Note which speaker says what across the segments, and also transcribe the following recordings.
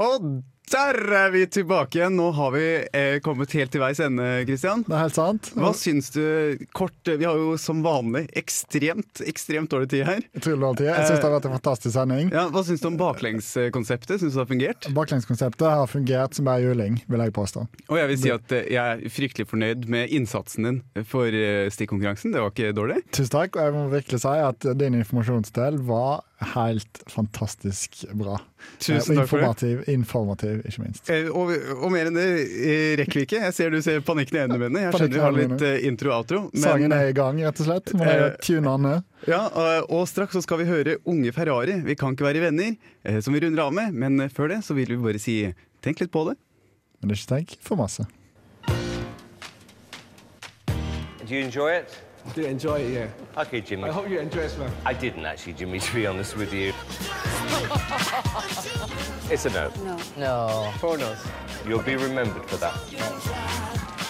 Speaker 1: Og der er vi tilbake igjen! Nå har vi eh, kommet helt til veis ende, Kristian.
Speaker 2: Det er helt sant.
Speaker 1: Hva syns du kort eh, Vi har jo som vanlig ekstremt, ekstremt dårlig tid her.
Speaker 2: Jeg tror det var alltid. Jeg syns det har vært en fantastisk sending.
Speaker 1: Ja, hva syns du om baklengskonseptet? Syns du det har fungert?
Speaker 2: Baklengskonseptet har fungert som bare juling, vil jeg påstå.
Speaker 1: Og jeg vil si at eh, jeg er fryktelig fornøyd med innsatsen din for eh, stikkonkurransen. Det var ikke dårlig.
Speaker 2: Tusen takk, og jeg må virkelig si at din informasjonsdel var helt fantastisk bra.
Speaker 1: Tusen
Speaker 2: Eh,
Speaker 1: takk for det.
Speaker 2: informativ, informativ, ikke minst.
Speaker 1: Eh, Og, og mer enn det eh, rekker vi ikke. Jeg ser du ser panikken i øynene mine. Jeg skjønner vi har litt eh, intro og outro.
Speaker 2: Sangen
Speaker 1: Men,
Speaker 2: er i gang, rett og slett. Må jeg
Speaker 1: eh,
Speaker 2: tune den ned?
Speaker 1: ja, eh, og straks så skal vi høre Unge Ferrari, Vi kan ikke være venner, eh, som vi runder av med. Men eh, før det så vil vi bare si tenk litt på det.
Speaker 2: Men ikke tenk for masse.
Speaker 3: Do you enjoy it?
Speaker 4: I do enjoy it, yeah.
Speaker 3: Okay, Jimmy.
Speaker 4: I hope you enjoy it, man.
Speaker 3: I didn't actually, Jimmy, to be honest with you. it's a no.
Speaker 5: No.
Speaker 4: Pornos.
Speaker 3: You'll be remembered for that.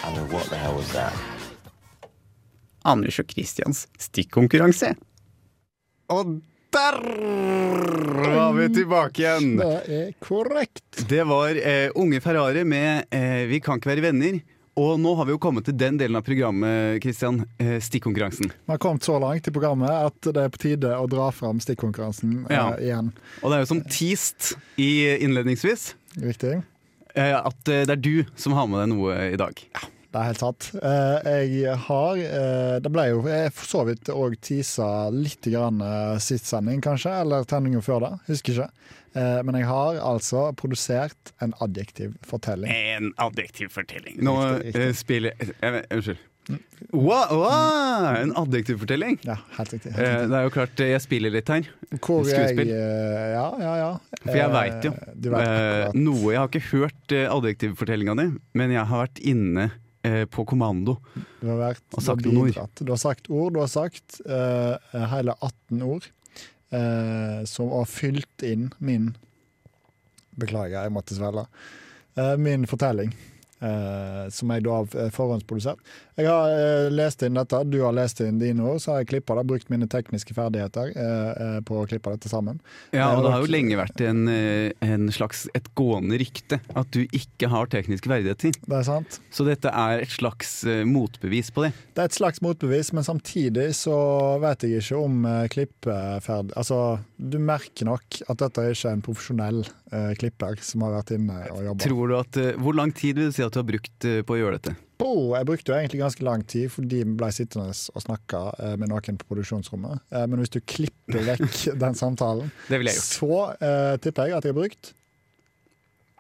Speaker 3: I mean, what the hell was that?
Speaker 1: Anders og Kristians stikkonkurranse. Og der var vi tilbake igjen!
Speaker 2: Det er korrekt.
Speaker 1: Det var eh, Unge Ferrari med eh, Vi kan ikke være venner. Og nå har vi jo kommet til den delen av programmet, Kristian. Eh, stikkonkurransen.
Speaker 2: Vi har kommet så langt i programmet at det er på tide å dra fram stikkonkurransen eh,
Speaker 1: Ja.
Speaker 2: igjen.
Speaker 1: Og det er jo som teased i innledningsvis
Speaker 2: Riktig?
Speaker 1: eh, at eh, det er du som har med deg noe i dag.
Speaker 2: Det er helt sant. Eh, Jeg har eh, Det ble jo jeg for så vidt òg teasa litt grann eh, sist sending, kanskje, eller tenninga før det. Husker ikke. Eh, Men jeg har altså produsert en adjektiv fortelling.
Speaker 1: En adjektiv fortelling. Nå
Speaker 2: Riktig, riktig.
Speaker 1: eh, spiller jeg, jeg, Unnskyld. Wow, wow, en adjektiv fortelling!
Speaker 2: Ja, helt riktig. Helt
Speaker 1: Eh, det er jo klart eh, jeg spiller litt her.
Speaker 2: riktig. Hvor jeg
Speaker 1: skuespill.
Speaker 2: eh, Ja, ja, ja.
Speaker 1: For jeg
Speaker 2: Eh,
Speaker 1: veit jo
Speaker 2: Du vet
Speaker 1: eh,
Speaker 2: akkurat.
Speaker 1: noe. Jeg har ikke hørt eh, adjektivfortellinga di, men jeg har vært inne eh, på kommando.
Speaker 2: Du har vært
Speaker 1: Og
Speaker 2: du har
Speaker 1: sagt noen ord.
Speaker 2: bidratt. Du har sagt ord. Du har sagt eh, hele 18 ord eh, som har fylt inn min Beklager, jeg måtte svelle. Eh, min fortelling. eh, som jeg da har eh, forhåndsprodusert. Jeg har eh, lest inn dette, du har lest inn dine ord, så har jeg klippa det. Brukt mine tekniske ferdigheter eh, eh, på å klippe dette sammen.
Speaker 1: Ja, og
Speaker 2: Eh,
Speaker 1: Det har jo lenge vært en, eh, en slags et gående rykte at du ikke har tekniske verdigheter.
Speaker 2: Det er sant.
Speaker 1: Så dette er et slags eh, motbevis på det.
Speaker 2: Det er et slags motbevis, men samtidig så vet jeg ikke om eh, klippeferd... Altså, du merker nok at dette er ikke er en profesjonell eh, klipper som har vært inne og jobba.
Speaker 1: Tror du at, eh, Hvor lang tid vil du si at du har brukt eh, på å gjøre dette?
Speaker 2: Bo, Jeg brukte jo egentlig ganske lang tid fordi vi ble sittende og snakke eh, med noen på produksjonsrommet. Eh, Men hvis du klipper vekk den samtalen,
Speaker 1: Det ville jeg gjort.
Speaker 2: så eh, tipper jeg at jeg har brukt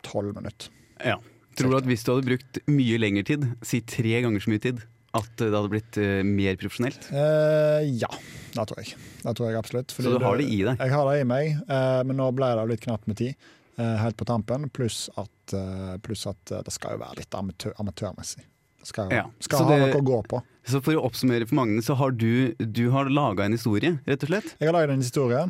Speaker 2: tolv minutter.
Speaker 1: Ja. Tror du at hvis du hadde brukt mye lengre tid, si tre ganger så mye tid, at eh, det hadde blitt eh, mer profesjonelt?
Speaker 2: Eh, ja, det tror jeg. Det tror jeg absolutt. fordi
Speaker 1: Så du har det i deg?
Speaker 2: Jeg har det i meg, eh, men nå ble det litt knapt med tid. eh, helt på tampen. Pluss at, eh, pluss at eh, det skal jo være litt amatør, amatørmessig. Det Skal, jo-
Speaker 1: Ja,
Speaker 2: skal
Speaker 1: så
Speaker 2: ha
Speaker 1: det-
Speaker 2: noe å gå på.
Speaker 1: Så for å oppsummere for Magne, så har du, du har laga en historie, rett og slett?
Speaker 2: Jeg har laget en historie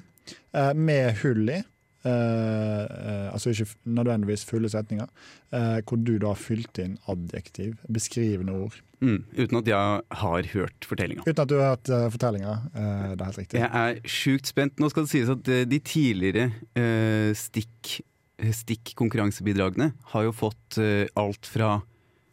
Speaker 2: eh, med hull i. eh, eh, altså ikke f- nødvendigvis fulle setninger. eh, hvor du da fylte inn adjektiv, beskrivende ord.
Speaker 1: Mm, uten at jeg har hørt fortellinga.
Speaker 2: Uten at du har hørt eh, fortellinga. eh, det er helt riktig.
Speaker 1: Jeg er sjukt spent. Nå skal det sies at eh, de tidligere eh, stikk, stikk konkurransebidragene har jo fått eh, alt fra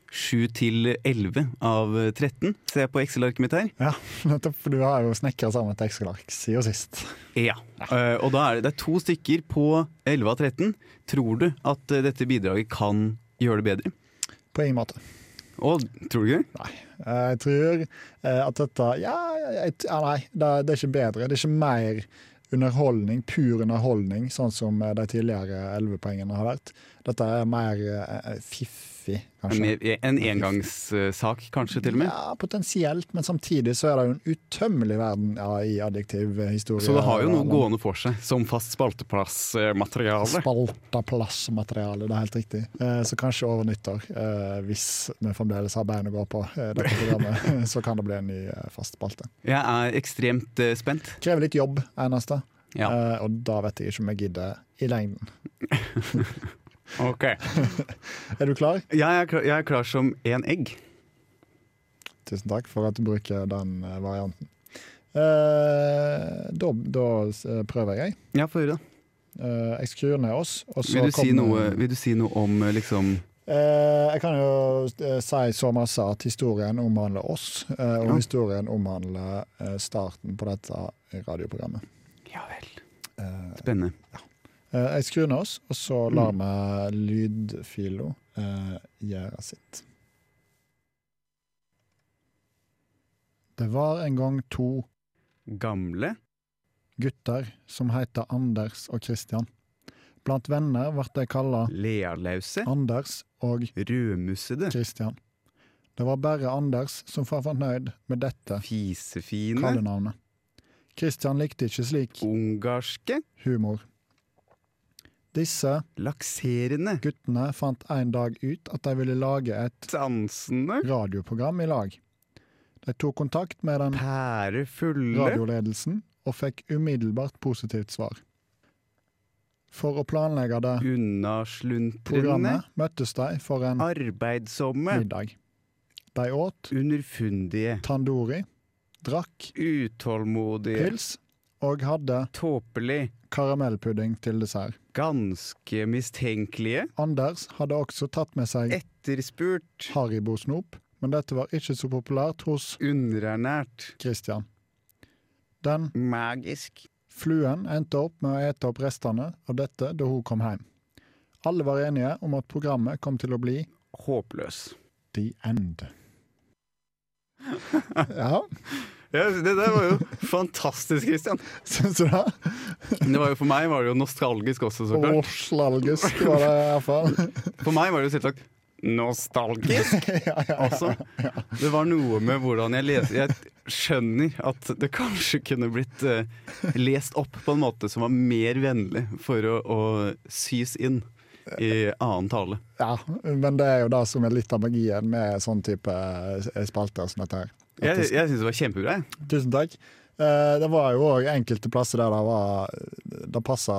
Speaker 1: 7 til 11 av eh, 13, ser jeg på Excel-arket mitt her.
Speaker 2: Ja, nettopp, for du har jo snekra sammen et Excel-ark siden sist.
Speaker 1: Ja. Eh, og da er det, det er to stykker på 11 av 13. Tror du at eh, dette bidraget kan gjøre det bedre?
Speaker 2: På ingen måte.
Speaker 1: Og tror du ikke? det?
Speaker 2: Eh, Jeg tror eh, at dette Ja, jeg, ja nei, det, det er ikke bedre. Det er ikke mer underholdning, pur underholdning, sånn som eh, de tidligere 11-poengene har vært. Dette er mer eh, fiffig, kanskje.
Speaker 1: Mer- En engangssak, kanskje, til og med?
Speaker 2: Ja, potensielt, men samtidig så er det jo en utømmelig verden ja, i adjektiv eh, historie.
Speaker 1: Så det har jo noe
Speaker 2: Eller
Speaker 1: gående for seg, som fast spalteplassmateriale.
Speaker 2: Spalta plassmateriale, det er helt riktig. Eh, Så kanskje over nyttår, eh, hvis vi fremdeles har bein å gå på eh, dette programmet, så kan det bli en ny eh, fast spalte.
Speaker 1: Jeg er ekstremt eh, spent.
Speaker 2: Krever litt jobb, eneste.
Speaker 1: Ja.
Speaker 2: Eh, og da vet jeg ikke om jeg gidder i lengden.
Speaker 1: Eh, Ok.
Speaker 2: Er du klar?
Speaker 1: Jeg er klar, jeg er klar som én egg.
Speaker 2: Tusen takk for at du bruker den eh, varianten. Eh, da, da eh, prøver jeg.
Speaker 1: Ja, få høre, da.
Speaker 2: Eh, jeg skrur ned oss, og så
Speaker 1: Vil du, si
Speaker 2: kommer-
Speaker 1: noe, vil du si noe om eh, liksom
Speaker 2: Eh, jeg kan jo eh, si så masse at historien omhandler oss, eh, og
Speaker 1: Ja.
Speaker 2: historien omhandler eh, starten på dette radioprogrammet.
Speaker 1: Ja vel.
Speaker 2: Eh,
Speaker 1: Spennende.
Speaker 2: eh, jeg skrur ned oss, og så lar vi lydfila eh, gjøre sitt. Det var en gang to
Speaker 1: Gamle?
Speaker 2: gutter som heter Anders og Kristian. Blant venner ble de kalla
Speaker 1: Lealause?
Speaker 2: Anders og
Speaker 1: Rødmussede?
Speaker 2: Kristian. Det var bare Anders som var fornøyd med dette
Speaker 1: Fisefine?
Speaker 2: kallenavnet. Kristian likte ikke slik
Speaker 1: Ungarske?
Speaker 2: humor. Disse
Speaker 1: Lakserende?
Speaker 2: guttene fant en dag ut at de ville lage et
Speaker 1: Sansende?
Speaker 2: radioprogram i lag. De tok kontakt med den
Speaker 1: Pærefulle?
Speaker 2: radioledelsen og fikk umiddelbart positivt svar. For å planlegge det
Speaker 1: Unnasluntrinne?
Speaker 2: programmet møttes de for en
Speaker 1: Arbeidsomme?
Speaker 2: middag. De åt
Speaker 1: Underfundige?
Speaker 2: tandori, drakk
Speaker 1: Utålmodige?
Speaker 2: pils og hadde
Speaker 1: Tåpelig?
Speaker 2: karamellpudding til dessert.
Speaker 1: Ganske mistenkelige?
Speaker 2: Anders hadde også tatt med seg
Speaker 1: Etterspurt?
Speaker 2: Haribo-snop, men dette var ikke så populært hos
Speaker 1: Underernært?
Speaker 2: Christian. Den
Speaker 1: Magisk?
Speaker 2: fluen endte opp med å ete opp restene av dette da hun kom hjem. Alle var enige om at programmet kom til å bli
Speaker 1: Håpløs?
Speaker 2: The End. Ja,
Speaker 1: Ja, det der var jo fantastisk, Christian.
Speaker 2: syns du det?
Speaker 1: Men Det var jo, for meg var det jo nostalgisk også, så klart.
Speaker 2: Årslalgisk var det i hvert fall.
Speaker 1: For meg var det jo selvsagt nostalgisk
Speaker 2: Ja, ja.
Speaker 1: også. Det var noe med hvordan jeg leser Jeg skjønner at det kanskje kunne blitt eh, lest opp på en måte som var mer vennlig for å, å sys inn i annen tale.
Speaker 2: ja, men det er jo det som er litt av magien med sånn type eh, spalter som dette her. At det
Speaker 1: Jeg, jeg syns det var kjempebra. jeg.
Speaker 2: Tusen takk. Eh, det var jo òg enkelte plasser der det, var- det passa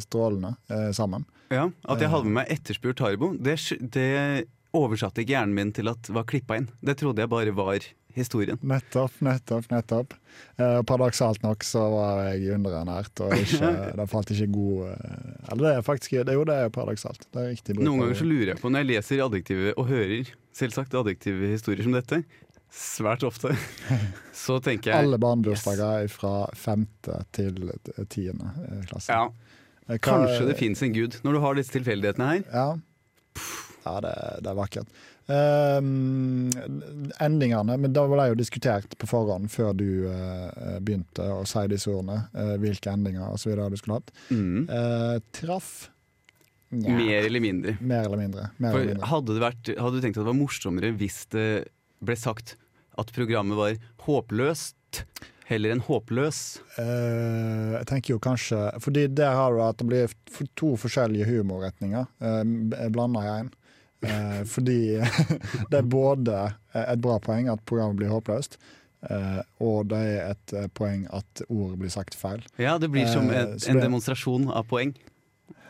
Speaker 2: strålende eh, sammen.
Speaker 1: Ja, at jeg hadde med meg etterspurt Haribo, det, sk- det oversatte ikke hjernen min til at var klippa inn. Det trodde jeg bare var historien.
Speaker 2: Nettopp, nettopp, nettopp. Eh, paradoksalt nok så var jeg underernært, og ikke, det falt ikke god eh, Eller det er faktisk det, er Jo, det er jo paradoksalt. Det er riktig bruk.
Speaker 1: Noen
Speaker 2: av
Speaker 1: ganger så
Speaker 2: det.
Speaker 1: lurer jeg på, når jeg leser adjektivet og hører selvsagt adjektive historier som dette, svært ofte, så tenker jeg
Speaker 2: Alle barnebursdager fra femte til t- tiende eh, klasse.
Speaker 1: ja,
Speaker 2: Eh, hva-
Speaker 1: kanskje det fins en gud. Når du har disse tilfeldighetene her,
Speaker 2: Ja, ja det, det er vakkert. Ehm, endingene Men da ble jo diskutert på forhånd før du eh, begynte å si disse ordene, eh, hvilke endinger og så videre du skulle hatt.
Speaker 1: mm,
Speaker 2: Eh, traff Nja,
Speaker 1: mer eller mindre.
Speaker 2: mer eller mindre. Mer
Speaker 1: For
Speaker 2: eller mindre.
Speaker 1: hadde, det vært, hadde du tenkt at det var morsommere hvis det ble sagt at programmet var håpløst heller enn håpløs?
Speaker 2: Eh, jeg tenker jo kanskje Fordi der har du at det blir f- to forskjellige humorretninger uh, blanda i én. Eh, fordi det er både et bra poeng at programmet blir håpløst, eh, og det er et eh, poeng at ord blir sagt feil.
Speaker 1: Ja, det blir som
Speaker 2: Eh,
Speaker 1: et,
Speaker 2: så
Speaker 1: en
Speaker 2: det-
Speaker 1: demonstrasjon av poeng.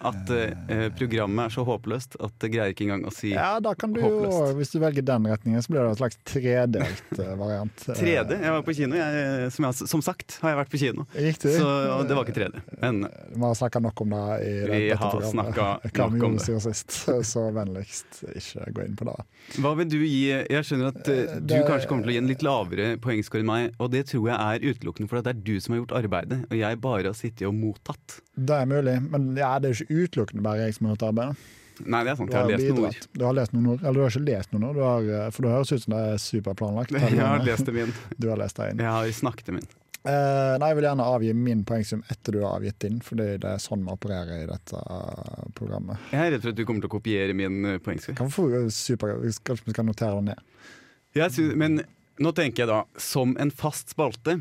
Speaker 1: At eh, programmet er så håpløst at det greier ikke engang å si
Speaker 2: Ja, da kan du
Speaker 1: Håpløst.
Speaker 2: jo, Hvis du velger den retningen, så blir det en slags tredelt eh, variant.
Speaker 1: 3D. Jeg var på kino, jeg, som, jeg, som sagt har jeg vært på kino.
Speaker 2: Eh, Riktig. Eh,
Speaker 1: Så og det var ikke 3D. Men
Speaker 2: Vi har snakka nok om det i det-
Speaker 1: Vi
Speaker 2: dette
Speaker 1: har
Speaker 2: programmet.
Speaker 1: snakket
Speaker 2: Hva vi
Speaker 1: nok om
Speaker 2: gjorde siden sist, så vennligst ikke gå inn på det.
Speaker 1: hva vil du gi Jeg skjønner at eh, du
Speaker 2: det-
Speaker 1: kanskje kommer til å gi en litt lavere poengscore enn meg, og det tror jeg er utelukkende fordi det er du som har gjort arbeidet, og jeg bare har sittet og mottatt.
Speaker 2: Det er mulig, men ja, det er jo ikke utelukkende bare jeg som har gjort arbeidet.
Speaker 1: Nei, det er sant.
Speaker 2: Du
Speaker 1: Jeg
Speaker 2: har,
Speaker 1: har lest noen ord.
Speaker 2: bidratt. du har lest noen ord. Eller du har ikke lest noen ord, du har, eh, for det høres ut som det er superplanlagt.
Speaker 1: Jeg har lest det min.
Speaker 2: Du har lest deg inn.
Speaker 1: Jeg har snakket det min.
Speaker 2: Eh, nei, jeg vil gjerne avgi min poengsum etter du har avgitt din, fordi det er sånn vi opererer i dette eh, programmet.
Speaker 1: Jeg er redd for at du kommer til å kopiere min eh, poengscore.
Speaker 2: Kan vi få, eh, super, kanskje vi skal notere det ned.
Speaker 1: Jeg synes, men nå tenker jeg da som en fast spalte.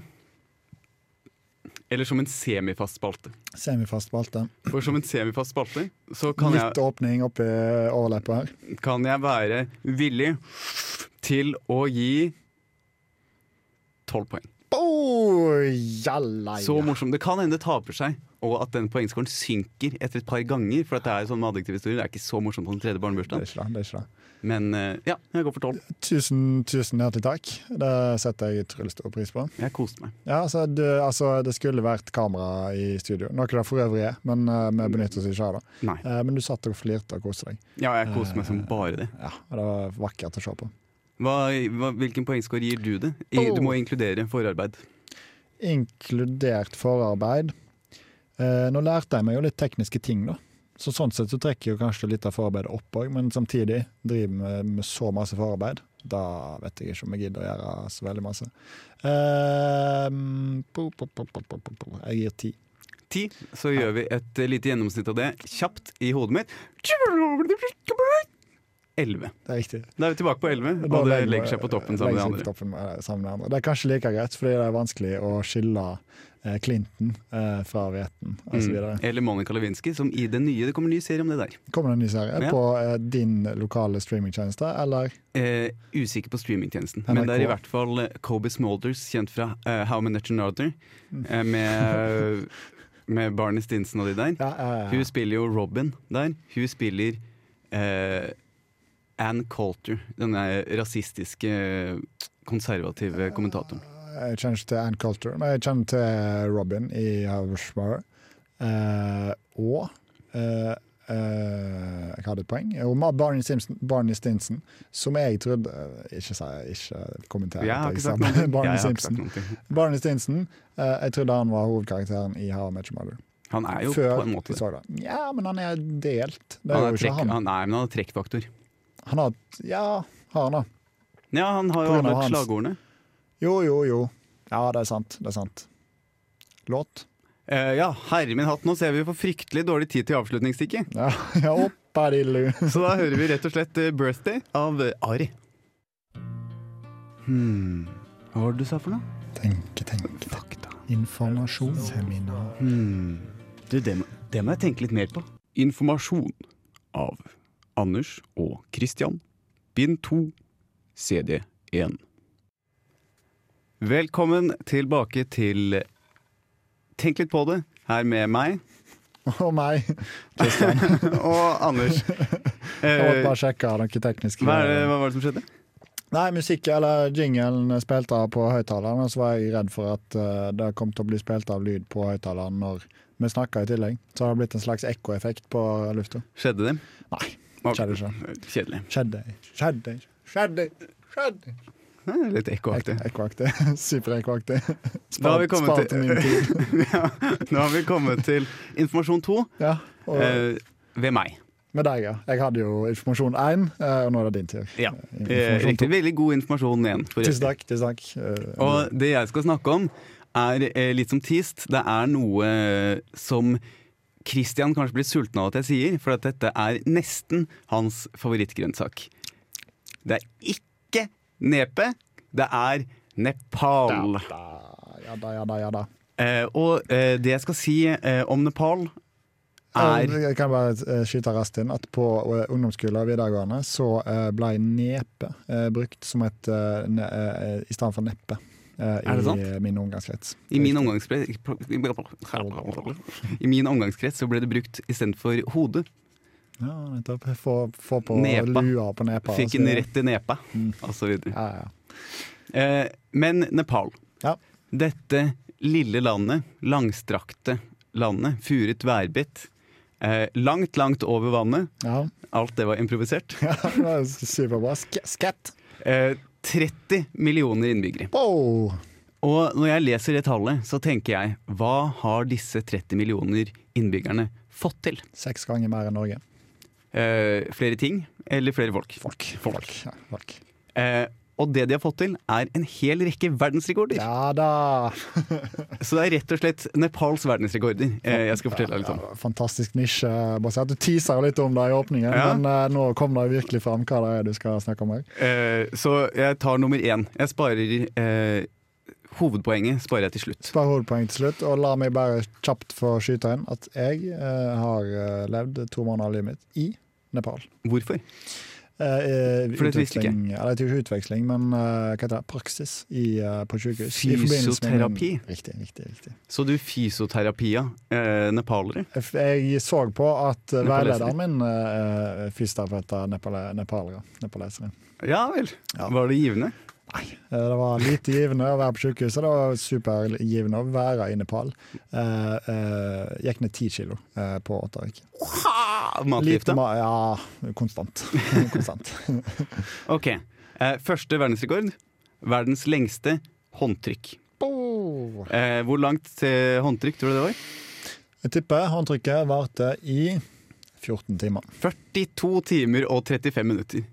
Speaker 1: Eller som en semifast spalte.
Speaker 2: Semifast spalte.
Speaker 1: For som en semifast spalte så kan
Speaker 2: Litt
Speaker 1: jeg,
Speaker 2: åpning oppi overleppa her.
Speaker 1: kan jeg være villig til å gi tolv poeng.
Speaker 2: Boom! jalla,
Speaker 1: Så
Speaker 2: ja.
Speaker 1: morsomt. Det kan hende det taper seg, og at den poengskåren synker etter et par ganger. For at det er jo sånn med adjektivhistorier. Det er ikke så morsomt på den tredje
Speaker 2: Det er
Speaker 1: barnebursdagen.
Speaker 2: ikke det. det, er ikke det.
Speaker 1: Men eh, ja, jeg går for tolv.
Speaker 2: Tusen, tusen hjertelig takk. Det setter jeg utrolig stor pris på.
Speaker 1: Jeg koste meg.
Speaker 2: Ja, altså, du, altså, Det skulle vært kamera i studio, noe det for øvrig er, men eh, vi benytter oss ikke av det.
Speaker 1: Nei.
Speaker 2: Eh, men du satt og flirte og koste deg.
Speaker 1: Ja, jeg koste meg
Speaker 2: Eh.
Speaker 1: som bare det.
Speaker 2: Ja, og Det var vakkert å se på.
Speaker 1: Hva, hva, hvilken poengscore gir du det? I, du må inkludere forarbeid.
Speaker 2: Inkludert forarbeid. Eh, nå lærte jeg meg jo litt tekniske ting, da. Så sånn sett så trekker jo kanskje litt av forarbeidet opp òg, men samtidig driver vi med så masse forarbeid. Da vet jeg ikke om jeg gidder å gjøre så veldig masse. Eh, po, po, po, po, po, po, po. Jeg gir ti.
Speaker 1: Ti. Så gjør vi et eh, lite gjennomsnitt av det kjapt i hodet mitt. Elleve.
Speaker 2: Det er riktig.
Speaker 1: Da er vi tilbake på elleve, og det legger seg på toppen sammen med de
Speaker 2: legger seg
Speaker 1: andre.
Speaker 2: på toppen med det- sammen med de andre. Det er kanskje like greit, fordi det er vanskelig å skille eh, Clinton eh, fra Veten osv.
Speaker 1: Mm. Eller Monica Lewinsky, som i den nye Det kommer en ny serie om det der.
Speaker 2: Kommer det en ny serie
Speaker 1: Ja.
Speaker 2: på eh, din lokale streamingtjeneste, eller?
Speaker 1: Eh, usikker på streamingtjenesten.
Speaker 2: NRK.
Speaker 1: Men det er i hvert fall eh, Kobe Smulders, kjent fra eh, How Many Nutcher Norther,
Speaker 2: Mm.
Speaker 1: eh, med, med Barney Stinson og de der.
Speaker 2: Ja, ja, ja.
Speaker 1: Hun spiller jo Robin der. Hun spiller eh, Ann Coulter, denne rasistiske, konservative kommentatoren.
Speaker 2: Jeg kjenner ikke til Ann Coulter, men jeg kjenner til Robin i Havershire. Eh, og eh, eh, jeg hadde et poeng. Og Ma- Barney Stinson, Barney Stinson som jeg trodde eh, Ikke si ikke kommenter.
Speaker 1: Jeg har
Speaker 2: at
Speaker 1: ikke
Speaker 2: jeg
Speaker 1: sagt
Speaker 2: sa-
Speaker 1: noe. Jeg
Speaker 2: Barney
Speaker 1: har ikke sagt
Speaker 2: Stinson.
Speaker 1: noe.
Speaker 2: Barney Stinson. eh, jeg trodde han var hovedkarakteren i How I Met Your Mother.
Speaker 1: Han er jo
Speaker 2: Før
Speaker 1: på en måte
Speaker 2: vi så det. Ja, men han er delt. Det
Speaker 1: han
Speaker 2: er
Speaker 1: er
Speaker 2: jo ikke
Speaker 1: trekk,
Speaker 2: han.
Speaker 1: han, Nei, men han er trekkfaktor.
Speaker 2: Han har Ja, har han da.
Speaker 1: Ja, han har
Speaker 2: På
Speaker 1: jo
Speaker 2: grunn av
Speaker 1: alle
Speaker 2: hans-
Speaker 1: slagordene.
Speaker 2: Jo, jo, jo. Ja, det er sant. Det er sant. Låt.
Speaker 1: Eh, ja, herre min hatt, nå ser vi for fryktelig dårlig tid til avslutningsstikket.
Speaker 2: Ja, ja oppadillu.
Speaker 1: Så da hører vi rett og slett eh, 'Birthday' av eh, Ari. Hmm. Hva var det du sa for noe?
Speaker 2: Tenke, tenke.
Speaker 1: Fakta.
Speaker 2: Informasjon. Seminar.
Speaker 1: Hmm. Du, det, må- det må jeg tenke litt mer på. Informasjon av Anders og Christian. Bind 2, CD 1. Velkommen tilbake til Tenk litt på det, her med meg
Speaker 2: Og meg.
Speaker 1: og Anders.
Speaker 2: Jeg måtte
Speaker 1: Eh,
Speaker 2: bare sjekke noen tekniske
Speaker 1: hva, er det, hva var det som skjedde?
Speaker 2: Nei, musikk eller jinglen spilte av på høyttaleren, og så var jeg redd for at eh, det kom til å bli spilt av lyd på høyttaleren når vi snakka i tillegg. Så har det blitt en slags ekkoeffekt på lufta.
Speaker 1: Skjedde det?
Speaker 2: Nei,
Speaker 1: Ok.
Speaker 2: skjedde ikke.
Speaker 1: Kjedelig.
Speaker 2: Skjedde, skjedde, skjedde. Skjedde.
Speaker 1: Eh, Litt ekkoaktig.
Speaker 2: Ek- Ekkoaktig. Superekkoaktig.
Speaker 1: Da har vi
Speaker 2: Spart,
Speaker 1: kommet
Speaker 2: spart
Speaker 1: til-
Speaker 2: min tid.
Speaker 1: ja, nå har vi kommet til informasjon 2
Speaker 2: Ja, og
Speaker 1: eh, ved meg.
Speaker 2: med deg, ja. Jeg hadde jo informasjon én, eh, og nå er det din tur.
Speaker 1: Ja, eh,
Speaker 2: Informasjon
Speaker 1: riktig.
Speaker 2: to.
Speaker 1: Veldig god informasjon igjen. for-
Speaker 2: Tusen takk. Tusen takk. Eh,
Speaker 1: Og det jeg skal snakke om, er eh, litt som teased. Det er noe som Christian kanskje blir sulten av at jeg sier, for at dette er nesten hans favorittgrønnsak. Det er ikke nepe, det er Nepal.
Speaker 2: Ja da, ja da, ja da.
Speaker 1: Eh, og eh, det jeg skal si eh, om Nepal, er
Speaker 2: Jeg kan bare eh, skyte raskt inn at på eh, ungdomsskolen og videregående så eh, ble nepe eh, brukt som et eh, ne, eh, i stedet for neppe. eh,
Speaker 1: Er det sant?
Speaker 2: I min omgangskrets.
Speaker 1: I min, omgangskrets, I min omgangskrets så ble det brukt istedenfor hode.
Speaker 2: Ja, nettopp. Få, få på
Speaker 1: Nepa.
Speaker 2: lua på nepa. og
Speaker 1: Fikk
Speaker 2: så
Speaker 1: en
Speaker 2: videre.
Speaker 1: rett i nepa, og så videre.
Speaker 2: Ja, ja.
Speaker 1: Eh, men Nepal.
Speaker 2: Ja.
Speaker 1: Dette lille landet, langstrakte landet, furet værbitt. Eh, langt, langt over vannet.
Speaker 2: ja.
Speaker 1: Alt det var improvisert.
Speaker 2: ja det var superbra. Sk- Skatt!
Speaker 1: Eh, 30 millioner innbyggere.
Speaker 2: Wow!
Speaker 1: Og når jeg leser det tallet, så tenker jeg hva har disse 30 millioner innbyggerne fått til?
Speaker 2: Seks ganger mer enn Norge.
Speaker 1: Eh, flere ting eller flere folk?
Speaker 2: Folk. Ja, folk.
Speaker 1: Eh, og det de har fått til, er en hel rekke verdensrekorder.
Speaker 2: ja da!
Speaker 1: Så det er rett og slett Nepals verdensrekorder. Eh, jeg skal fortelle deg litt om.
Speaker 2: Ja, fantastisk nisje. Basert. Du teaser jo litt om det i åpningen,
Speaker 1: Ja.
Speaker 2: men eh, nå kom det virkelig fram hva det er du skal snakke om her.
Speaker 1: Eh, så jeg tar nummer én. Jeg sparer eh, Hovedpoenget sparer jeg til slutt.
Speaker 2: Spar hovedpoeng til slutt, og la meg bare kjapt få skyte inn at jeg eh, har eh, levd to måneder av livet mitt i Nepal.
Speaker 1: Hvorfor?
Speaker 2: Eh, Eh,
Speaker 1: For det visste ikke jeg.
Speaker 2: utveksling, eller det er ikke utveksling, men eh, hva heter det? praksis i, eh, på sykehus. i forbindelse med min-
Speaker 1: Fysioterapi.
Speaker 2: Riktig, riktig, riktig.
Speaker 1: Så du fysioterapia, eh, nepalere.
Speaker 2: Jeg, f- jeg så på at eh,
Speaker 1: Nepaleser.
Speaker 2: veilederen min eh, er fysioterapeut av nepale, nepalere. nepalesere.
Speaker 1: Ja vel.
Speaker 2: Ja.
Speaker 1: Var det givende?
Speaker 2: Eh, Det var lite givende å være på sykehuset, det var supergivende å være i Nepal. Eh, eh, gikk ned ti kilo eh, på åtte uker.
Speaker 1: Ha!
Speaker 2: Lite
Speaker 1: Matgifte.
Speaker 2: ma ja, konstant. konstant.
Speaker 1: Ok. Eh, første verdensrekord. Verdens lengste håndtrykk. Eh, hvor langt eh, håndtrykk tror du det var?
Speaker 2: Jeg tipper håndtrykket varte i 14 timer.
Speaker 1: 42 timer og 35 minutter.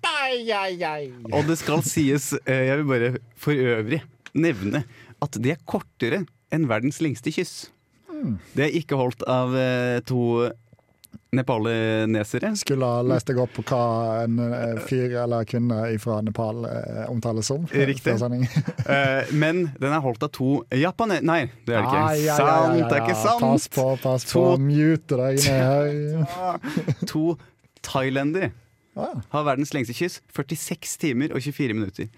Speaker 1: Og det skal sies, eh, jeg vil bare for øvrig nevne at det er kortere enn verdens lengste kyss.
Speaker 2: Hmm.
Speaker 1: Det er ikke holdt av eh, to nepalenesere.
Speaker 2: Skulle ha lest deg opp på hva en eh, fyr eller kvinne fra Nepal eh, omtales som.
Speaker 1: Riktig.
Speaker 2: Før sending.
Speaker 1: Eh, men den er holdt av to japanere... Nei, det er det ikke.
Speaker 2: Ja, ja, ja, ja,
Speaker 1: Sant,
Speaker 2: ja,
Speaker 1: det er ikke
Speaker 2: ja.
Speaker 1: sant!
Speaker 2: Pass på, pass på.
Speaker 1: To-
Speaker 2: Mute deg ned her.
Speaker 1: Ah, To thailendere
Speaker 2: Ja.
Speaker 1: har verdens lengste kyss. 46 timer og 24 minutter.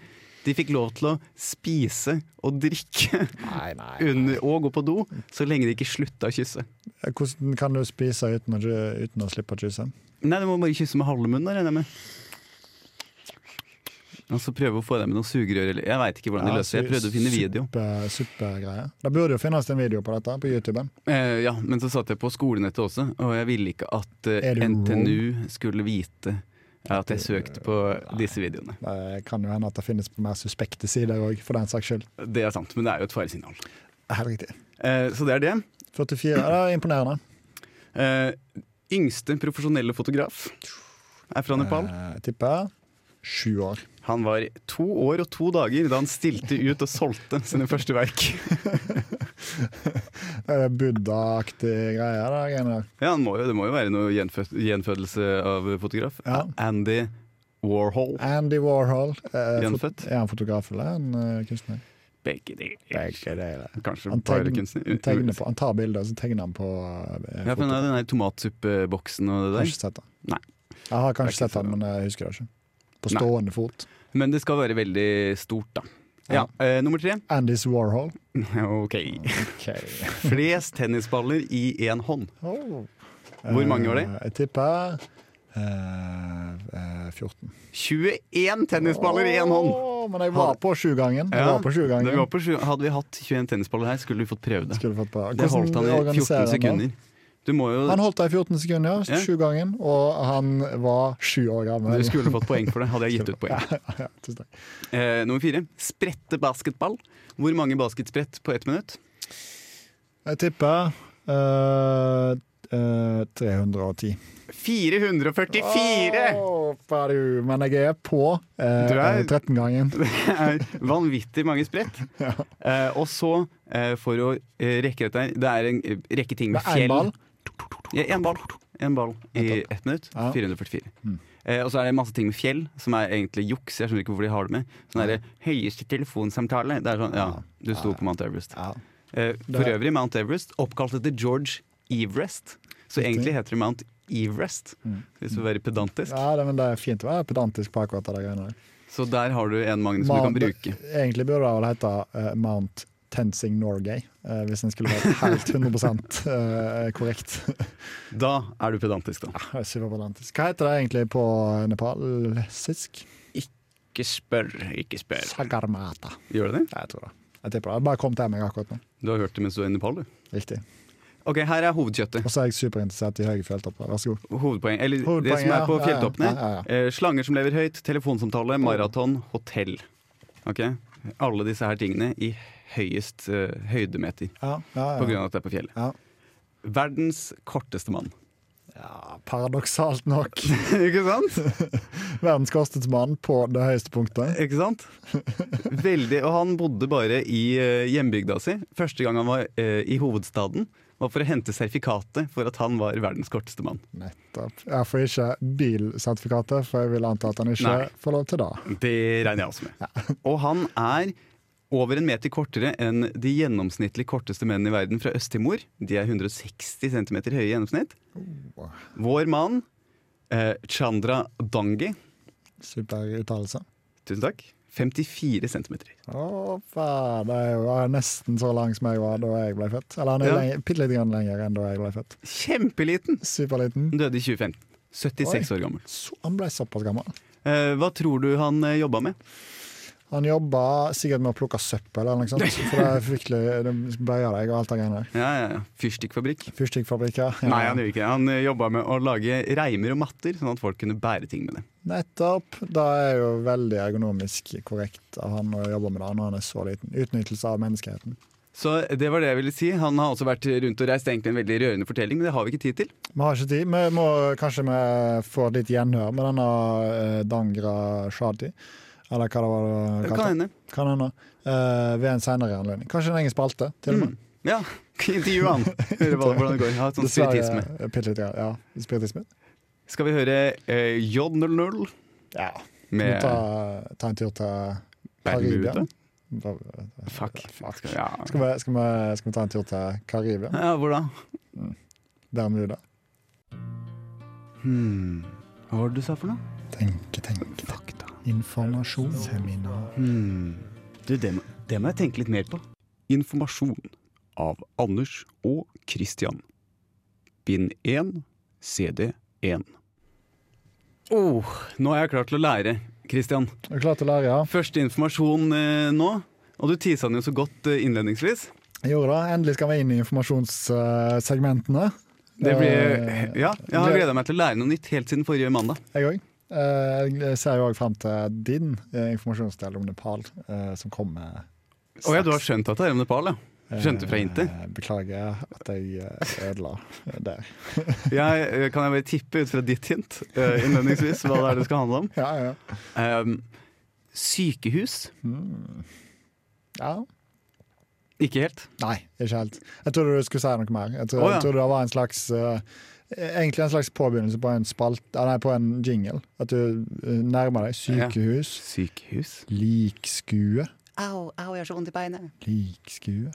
Speaker 1: De fikk lov til å spise og drikke
Speaker 2: Nei, nei.
Speaker 1: under, og gå på do så lenge de ikke slutta å kysse.
Speaker 2: Hvordan kan du spise uten å, kjø- uten å slippe å kysse?
Speaker 1: Nei, du må bare kysse med halve munnen, da, regner jeg med. Og så prøve å få i deg med noe sugerør eller Jeg veit ikke hvordan de løser det. Jeg prøvde å finne video.
Speaker 2: Super, supergreie. Det burde jo finnes en video på dette på YouTube.
Speaker 1: Eh, ja, men så satt jeg på skolenettet også, og jeg ville ikke at eh,
Speaker 2: Er du
Speaker 1: NTNU skulle vite at jeg søkte på disse videoene.
Speaker 2: Det kan jo hende at det finnes på mer suspekte sider òg, for den saks skyld.
Speaker 1: Det er sant, men det er jo et faresignal.
Speaker 2: Helt riktig.
Speaker 1: Eh, så det er det.
Speaker 2: 44. Ja, Det er imponerende.
Speaker 1: Eh, yngste profesjonelle fotograf er fra Nepal.
Speaker 2: Eh, Jeg tipper sju år.
Speaker 1: Han var to år og to dager da han stilte ut og solgte sine første verk.
Speaker 2: Det er Buddha-aktig greie. Eh, Det er greiene der.
Speaker 1: Ja, han må jo, Det må jo være noe gjenfød gjenfødelse av fotograf.
Speaker 2: Ja.
Speaker 1: Andy Warhol.
Speaker 2: Andy Warhol. eh,
Speaker 1: Gjenfødt.
Speaker 2: fot- Er han fotograf eller en eh, kunstner?
Speaker 1: Begge deler.
Speaker 2: Begge deler.
Speaker 1: Kanskje
Speaker 2: Han,
Speaker 1: bare
Speaker 2: tegn- han tegner
Speaker 1: kunstner.
Speaker 2: på, han tar bilder, og så tegner han på eh,
Speaker 1: Ja, for den
Speaker 2: foto.
Speaker 1: er den der tomatsuppeboksen og det der.
Speaker 2: Jeg har ikke sett det.
Speaker 1: Nei.
Speaker 2: Jeg har
Speaker 1: Det er
Speaker 2: kanskje
Speaker 1: ikke
Speaker 2: sett han,
Speaker 1: så-
Speaker 2: men jeg husker det ikke. På
Speaker 1: Nei.
Speaker 2: stående fot.
Speaker 1: Men det skal være veldig stort, da. Ja, eh, Nummer tre.
Speaker 2: Andys Warhol.
Speaker 1: Ok.
Speaker 2: Okay.
Speaker 1: Flest tennisballer i én hånd.
Speaker 2: Oh.
Speaker 1: Hvor mange var det?
Speaker 2: Eh, Jeg tipper eh, eh, 14.
Speaker 1: 21 tennisballer i én hånd!
Speaker 2: Åh, men jeg var på sjugangen. Jeg
Speaker 1: Ja,
Speaker 2: var på sjugangen.
Speaker 1: det var på sju- Hadde vi hatt 21 tennisballer her, skulle vi fått prøve det.
Speaker 2: Skulle fått på.
Speaker 1: Det holdt han i
Speaker 2: Hvordan
Speaker 1: 14
Speaker 2: organiserer han da?
Speaker 1: sekunder. Du må jo
Speaker 2: Han holdt det i 14 sekunder,
Speaker 1: Ja.
Speaker 2: sjugangen, og han var sju år
Speaker 1: Du
Speaker 2: gammel.
Speaker 1: skulle fått poeng for det, hadde jeg gitt ut poeng.
Speaker 2: Ja, tusen takk.
Speaker 1: Eh, nummer fire. Sprette basketball. Hvor mange basketsprett på ett minutt?
Speaker 2: Jeg tipper eh, eh, 310.
Speaker 1: 444!
Speaker 2: Åh, fader, men jeg er på eh,
Speaker 1: Du er-
Speaker 2: 13-gangen.
Speaker 1: Det er vanvittig mange sprett. Eh, og så, eh, for å eh, rekke dette her Det er en eh, rekke ting med
Speaker 2: Med én
Speaker 1: fjell.
Speaker 2: ball.
Speaker 1: Ja, en ball. En ball i ett minutt.
Speaker 2: Ja. Mm.
Speaker 1: 444. Eh, og så er det masse ting med fjell, som er egentlig juks. Jeg skjønner ikke hvorfor de har det med. Sånn er det høyeste telefonsamtale. Det er sånn, ja, du sto på Mount Everest.
Speaker 2: Ja.
Speaker 1: Eh, for øvrig, Mount Everest oppkalt etter George Everest. Så egentlig heter det Mount Everest, hvis du vil være pedantisk.
Speaker 2: Mm. Ja, det, men det er fint å være pedantisk på akkurat det greiene der.
Speaker 1: Så der har du en, Magnus, som du kan
Speaker 2: Mount-
Speaker 1: bruke.
Speaker 2: Egentlig burde det vel hete eh, Mount Tensing Norway, eh, hvis en skulle vært helt 100 eh, korrekt.
Speaker 1: Da er du pedantisk, da.
Speaker 2: Det er Superpedantisk. Hva heter det egentlig på nepalesisk?
Speaker 1: Ikke spør, ikke spør.
Speaker 2: Sagarmata.
Speaker 1: Gjør du det?
Speaker 2: Jeg tror det. Jeg tipper det. Det bare kom til meg akkurat nå.
Speaker 1: Du har hørt det mens du er i Nepal, du.
Speaker 2: Riktig.
Speaker 1: Ok, her er hovedkjøttet.
Speaker 2: Og så er jeg superinteressert i høye fjelltopper. Vær så god.
Speaker 1: Hovedpoeng, eller det
Speaker 2: Hovedpoeng,
Speaker 1: som er
Speaker 2: ja.
Speaker 1: på
Speaker 2: Ja, ja.
Speaker 1: fjelltoppene.
Speaker 2: Ja, ja, Oh.
Speaker 1: Eh, slanger som lever høyt, telefonsamtale, maraton, hotell. Ok? Alle disse her tingene i høyest eh, høydemeter,
Speaker 2: Ja, ja,
Speaker 1: på
Speaker 2: ja.
Speaker 1: grunn av at det er på fjellet.
Speaker 2: ja.
Speaker 1: Verdens korteste mann.
Speaker 2: ja paradoksalt nok.
Speaker 1: Ikke sant?
Speaker 2: Verdens korteste mann på det høyeste punktet.
Speaker 1: Ikke sant? Veldig. Og han bodde bare i eh, hjembygda si. Første gang han var eh, i hovedstaden, var for å hente sertifikatet for at han var verdens korteste mann.
Speaker 2: Nettopp. Jeg får ikke bilsertifikatet, for jeg vil anta at han ikke
Speaker 1: Nei.
Speaker 2: får lov til det.
Speaker 1: Det regner jeg også med. Og han er over en meter kortere enn de gjennomsnittlig korteste mennene i verden fra Øst-Timor. De er 160 cm høye i gjennomsnitt. Vår mann, eh, Chandra Dangi,
Speaker 2: Super uttalelse.
Speaker 1: Tusen takk. 54 centimeter.
Speaker 2: Hoppa, det er jo er nesten så lang som jeg var da jeg ble født. Eller han er
Speaker 1: Ja.
Speaker 2: lenge- bitte litt grann lenger enn da jeg ble født.
Speaker 1: Kjempeliten!
Speaker 2: Superliten.
Speaker 1: Han døde i 2015. 76
Speaker 2: Oi.
Speaker 1: år gammel.
Speaker 2: Så, han ble såpass gammel.
Speaker 1: Eh, hva tror du han eh, jobba med?
Speaker 2: Han jobba sikkert med å plukke søppel, eller noe sånt. For det er fryktelig Det bøyer deg og alt det greiene der.
Speaker 1: Ja, ja, ja. Fyrstikkfabrikk?
Speaker 2: Fyrstikkfabrikker. ja.
Speaker 1: Nei, han gjorde ikke det. Han eh, jobba med å lage reimer og matter, sånn at folk kunne bære ting med det.
Speaker 2: Nettopp. Da er jo veldig ergonomisk korrekt av han å jobbe med det når han er så liten. Utnyttelse av menneskeheten.
Speaker 1: Så det var det jeg ville si. Han har også vært rundt og reist egentlig en veldig rørende fortelling, men det har vi ikke tid til.
Speaker 2: Vi har ikke tid. Vi må kanskje vi får litt gjenhør med denne eh, Dangra Shadi. Eller hva det var det var
Speaker 1: Det
Speaker 2: kalt.
Speaker 1: kan hende.
Speaker 2: Kan hende. Eh, ved en senere anledning. Kanskje en egen spalte, til og med.
Speaker 1: Ja, intervju han. Høre hva- hvordan det går. Ha et sånt sånn spiritisme.
Speaker 2: eh, bitte litt, grann, ja. Spiritisme.
Speaker 1: Skal vi høre eh, J00
Speaker 2: Ja. Vi
Speaker 1: med
Speaker 2: må ta, ta en tur til Karibia.
Speaker 1: Bermuda?
Speaker 2: Hva-
Speaker 1: Fuck.
Speaker 2: Fuck.
Speaker 1: Skal, ja.
Speaker 2: Skal vi, skal, vi, skal vi ta en tur til Karibia?
Speaker 1: ja, hvor da?
Speaker 2: Bermuda?
Speaker 1: Hmm. Hva var det du sa for noe?
Speaker 2: Tenke, tenke.
Speaker 1: Fakta.
Speaker 2: Informasjon. Seminar.
Speaker 1: Hmm. Du, det må, det må jeg tenke litt mer på. Informasjon av Anders og Christian. Bind 1, CD 1. Oh, nå er jeg klar til å lære, Christian.
Speaker 2: Er du klar til å lære? Ja.
Speaker 1: Første informasjon eh, nå. Og du tisa den jo så godt eh, innledningsvis.
Speaker 2: Jeg gjorde det. Endelig skal vi inn i informasjonssegmentene.
Speaker 1: Det blir,
Speaker 2: Eh,
Speaker 1: ja, jeg har gleda meg til å lære noe nytt helt siden forrige mandag.
Speaker 2: Jeg òg. Jeg ser jo òg fram til din eh, informasjonsdel om Nepal, eh, som kommer.
Speaker 1: Å ja, du har skjønt at det er om Nepal, ja. Skjønte fra hintet.
Speaker 2: Eh, Beklager at jeg eh, ødela det.
Speaker 1: Jeg, eh, kan jeg bare tippe ut fra ditt hint eh, innledningsvis hva det er det skal handle om?
Speaker 2: Ja, ja.
Speaker 1: Ehm, sykehus?
Speaker 2: ja.
Speaker 1: Ikke helt.
Speaker 2: Nei, ikke helt. Jeg trodde du skulle si noe mer. Jeg trodde,
Speaker 1: Å, ja.
Speaker 2: jeg trodde det var en slags eh, Egentlig en slags påbegynnelse på en, spalt, ah, nei, på en jingle. At du eh, nærmer deg sykehus.
Speaker 1: Sykehus?
Speaker 2: Likskue.
Speaker 5: Au, au, jeg har så vondt i beinet.
Speaker 2: Likskue.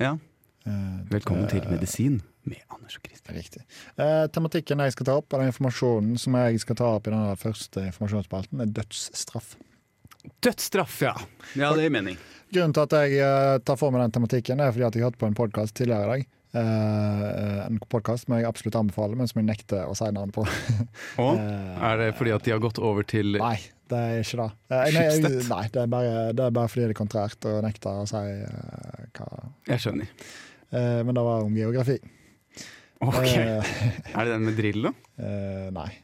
Speaker 1: Ja.
Speaker 2: Eh,
Speaker 1: Velkommen til Medisin med Anders og Christian.
Speaker 2: Riktig. Eh, tematikken jeg skal ta opp, eller informasjonen som jeg skal ta opp i denne første informasjonsspalten, er dødsstraff.
Speaker 1: Dødsstraff, ja! Ja, det gir mening.
Speaker 2: Grunnen til at jeg eh, tar for meg den tematikken, er fordi at jeg hørte på en podkast tidligere i dag. Eh, en podkast som jeg absolutt anbefaler, men som jeg nekter å si navn på.
Speaker 1: Og
Speaker 2: Eh,
Speaker 1: er det fordi at de har gått over til
Speaker 2: nei, det er ikke det. Eh, jeg- jeg-
Speaker 1: Schibsted?
Speaker 2: nei, det er, bare, det er bare fordi det er kontrært å nekte å si eh, hva
Speaker 1: Jeg skjønner.
Speaker 2: eh, Men det var om geografi.
Speaker 1: Ok,
Speaker 2: Eh,
Speaker 1: Er det den med Drillo?
Speaker 2: eh, nei.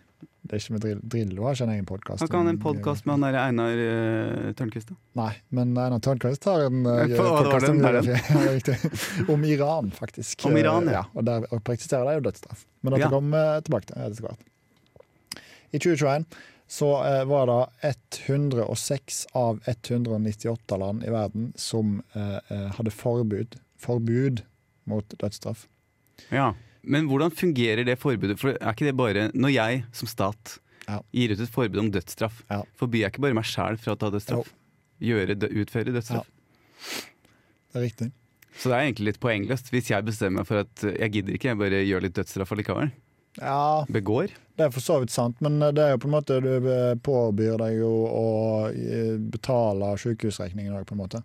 Speaker 2: Det er ikke med drill. Drillo har ikke en egen podkast.
Speaker 1: Han kan ha en podkast med han derre Einar uh, Tørnquist, da.
Speaker 2: Nei, men Einar Tørnquist har en uh,
Speaker 1: Nei, for- å, det var
Speaker 2: podkast om,
Speaker 1: den der,
Speaker 2: geografi. Ja, riktig. om Iran, faktisk.
Speaker 1: Om Iran, ja.
Speaker 2: Eh, og der praktiserer de jo dødsstraff. Men
Speaker 1: Ja.
Speaker 2: dette kommer eh, tilbake til etter hvert. I 2021 så eh, var det 106 av 198 land i verden som eh, eh, hadde forbud, forbud mot dødsstraff.
Speaker 1: Ja. Men hvordan fungerer det forbudet? For er ikke det bare Når jeg som stat
Speaker 2: Ja.
Speaker 1: gir ut et forbud om dødsstraff,
Speaker 2: Ja.
Speaker 1: forbyr jeg ikke bare meg sjæl fra å ta dødsstraff? Gjøre, dø- utføre dødsstraff?
Speaker 2: Det er riktig.
Speaker 1: Så det er egentlig litt poengløst hvis jeg bestemmer meg for at eh, jeg gidder ikke, jeg bare gjør litt dødsstraff allikevel.
Speaker 2: Ja,
Speaker 1: Begår.
Speaker 2: Det er for så vidt sant, men eh, det er jo på en måte du eh, påbyr deg jo å eh, betale sykehusregningen òg, på en måte.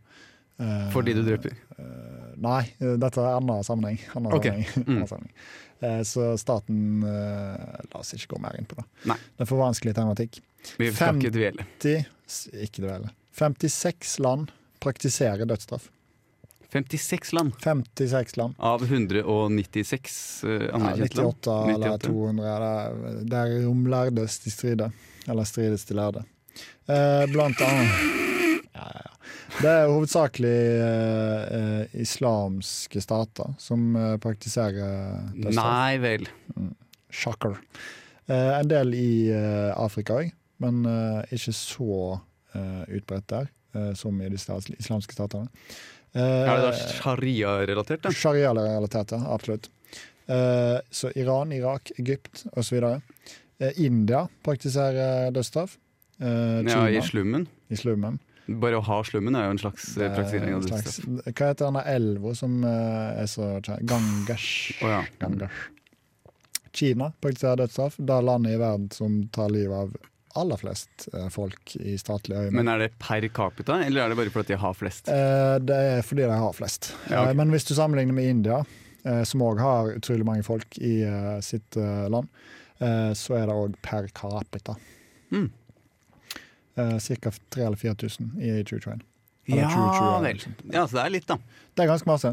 Speaker 2: Eh,
Speaker 1: Fordi du dreper.
Speaker 2: eh, Nei, eh, dette er annen sammenheng. Annen
Speaker 1: Ok,
Speaker 2: sammenheng.
Speaker 1: mm.
Speaker 2: Annen sammenheng. Eh, Så staten eh, La oss ikke gå mer inn på det.
Speaker 1: Nei.
Speaker 2: Det er for vanskelig tematikk.
Speaker 1: Vi skal
Speaker 2: Fem.
Speaker 1: ikke dvele.
Speaker 2: 50, s- ikke det vel, 56 land praktiserer dødsstraff.
Speaker 1: 56 land
Speaker 2: 56 land.
Speaker 1: av 196 eh,
Speaker 2: Ja,
Speaker 1: anerkjente
Speaker 2: 98
Speaker 1: land.
Speaker 2: eller
Speaker 1: 98.
Speaker 2: 200. eller- Der om lærdes de strider. Eller strides de lærde. Eh, blant annet ja, ja, ja. Det er hovedsakelig eh, eh, islamske stater som eh, praktiserer dødsstraff.
Speaker 1: Nei vel.
Speaker 2: Shocker. Eh, en del i eh, Afrika òg, men eh, ikke så eh, utbredt der eh, som i de stas- islamske statene. Eh,
Speaker 1: Er det da sharia-relatert, da?
Speaker 2: Sharia-relatert, ja, absolutt. Eh, så Iran, Irak, Egypt osv. Eh, India praktiserer dødsstraff. Eh,
Speaker 1: Ja,
Speaker 2: Kina
Speaker 1: i
Speaker 2: i,
Speaker 1: slummen.
Speaker 2: slummen.
Speaker 1: Bare å ha slummen er jo en slags eh, praktisering av
Speaker 2: Det er en
Speaker 1: dødsstraff.
Speaker 2: slags- Hva heter denne elva som eh, er så kjent? Gangesh.
Speaker 1: Å ja.
Speaker 2: Gangesh. Kina praktiserer dødsstraff. Det er landet i verden som tar livet av aller flest eh, folk i statlig øyemed.
Speaker 1: Men er det per capita, eller er det bare fordi de har flest?
Speaker 2: Eh, Det er fordi de har flest.
Speaker 1: Ja, ok.
Speaker 2: Eh, Men hvis du sammenligner med India, eh, som òg har utrolig mange folk i eh, sitt eh, land, eh, så er det òg per capita.
Speaker 1: Mm.
Speaker 2: Ca. 3000 eller 4000 i 2021. Eller
Speaker 1: Ja
Speaker 2: 2020 eller
Speaker 1: vel.
Speaker 2: noe sånt.
Speaker 1: Ja, så det er litt, da.
Speaker 2: Det er ganske masse.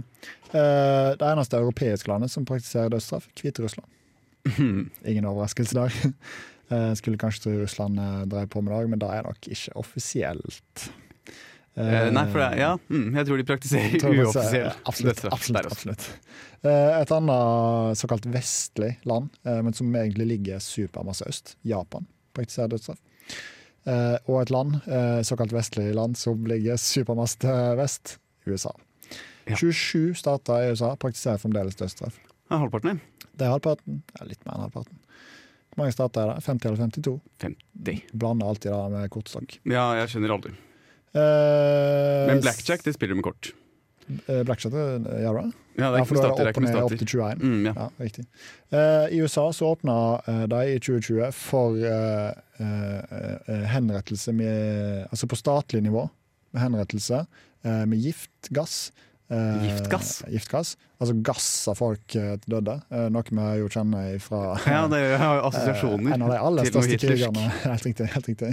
Speaker 2: Eh, Det eneste europeiske landet som praktiserer dødsstraff, Hviterussland. Ingen overraskelse der. Eh, Skulle kanskje tro Russland eh, drev på med det, men det er nok ikke offisielt.
Speaker 1: Eh, Nei, for det er, ja, mm, jeg tror de praktiserer
Speaker 2: Tror jeg faktisk,
Speaker 1: uoffisiell
Speaker 2: Absolutt.
Speaker 1: dødsstraff
Speaker 2: absolutt,
Speaker 1: der også.
Speaker 2: absolutt. Eh, Et annet såkalt vestlig land, eh, men som egentlig ligger supermasse øst, Japan, praktiserer dødsstraff. Eh, Og et land, eh, såkalt vestlig land, som ligger supermasse til vest, USA.
Speaker 1: Ja.
Speaker 2: 27 stater i USA praktiserer fremdeles dødsstraff.
Speaker 1: Ja, halvparten, ja.
Speaker 2: Det er halvparten. Ja, litt mer enn halvparten. Hvor mange stater er det? 50 eller 52?
Speaker 1: 50.
Speaker 2: Blander alltid det med kortstokk.
Speaker 1: Ja, jeg skjønner aldri.
Speaker 2: Eh,
Speaker 1: Men blackjack, det spiller du med kort.
Speaker 2: eh, Blackjack, eh, ja, bra.
Speaker 1: Ja, det er
Speaker 2: Ja,
Speaker 1: ikke
Speaker 2: for
Speaker 1: med
Speaker 2: da
Speaker 1: stater. Det er
Speaker 2: er det opp
Speaker 1: ikke
Speaker 2: og
Speaker 1: med
Speaker 2: ned opp
Speaker 1: stater.
Speaker 2: til 21.
Speaker 1: Mm, ja.
Speaker 2: Ja, riktig. Eh, I USA så åpna eh, de i 2020 for eh, eh, eh, henrettelse med Altså på statlig nivå med henrettelse eh, med giftgass. Eh,
Speaker 1: Giftgass?
Speaker 2: giftgass. Altså gass av folk eh, til døde. Eh, noe vi jo kjenner fra
Speaker 1: ja, det er jo assosiasjoner
Speaker 2: Eh, En av de aller
Speaker 1: til noe
Speaker 2: største
Speaker 1: hitlersk.
Speaker 2: krigerne. Helt riktig. helt riktig.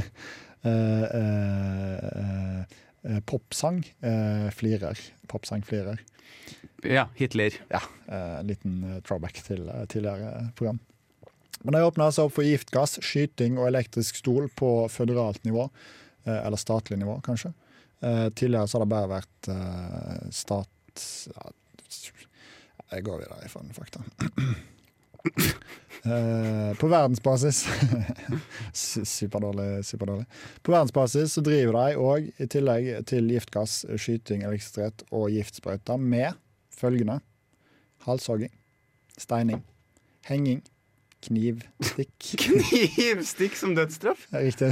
Speaker 2: Eh, eh, eh, eh, popsang eh, flirer. Popsang flirer.
Speaker 1: Ja, Hitler.
Speaker 2: Ja, eh, en liten eh, throwback til eh, tidligere program. Men de åpna altså opp for giftgass, skyting og elektrisk stol på føderalt nivå. eh, Eller statlig nivå, kanskje. Eh, Tidligere så har det bare vært eh, stat... Ja, jeg går videre fra den fakta. Eh, På verdensbasis Su- Superdårlig. superdårlig. På verdensbasis så driver de òg, i tillegg til giftgass, skyting, elektrisitet og giftsprøyter, med følgende halshogging, steining, henging, kniv, stikk.
Speaker 1: Knivstikk som dødsstraff?
Speaker 2: Riktig.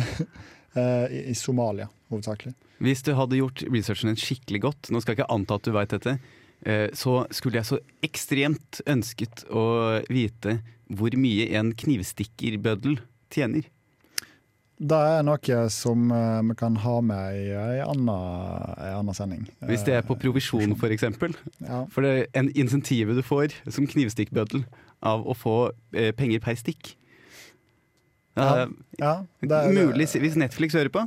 Speaker 2: Eh, I i Somalia, hovedsakelig.
Speaker 1: Hvis du hadde gjort researchen din skikkelig godt, nå skal jeg ikke anta at du veit dette, eh, så skulle jeg så ekstremt ønsket å vite hvor mye en knivstikkerbøddel tjener.
Speaker 2: Det er noe som eh, vi kan ha med i ei anna sending. Eh,
Speaker 1: Hvis det er på provisjon, for eksempel.
Speaker 2: Ja,
Speaker 1: For det er en insentivet du får som knivstikkbøddel av å få eh, penger per stikk.
Speaker 2: Ja,
Speaker 1: Eh,
Speaker 2: ja det er,
Speaker 1: mulig, se- hvis Netflix hører på,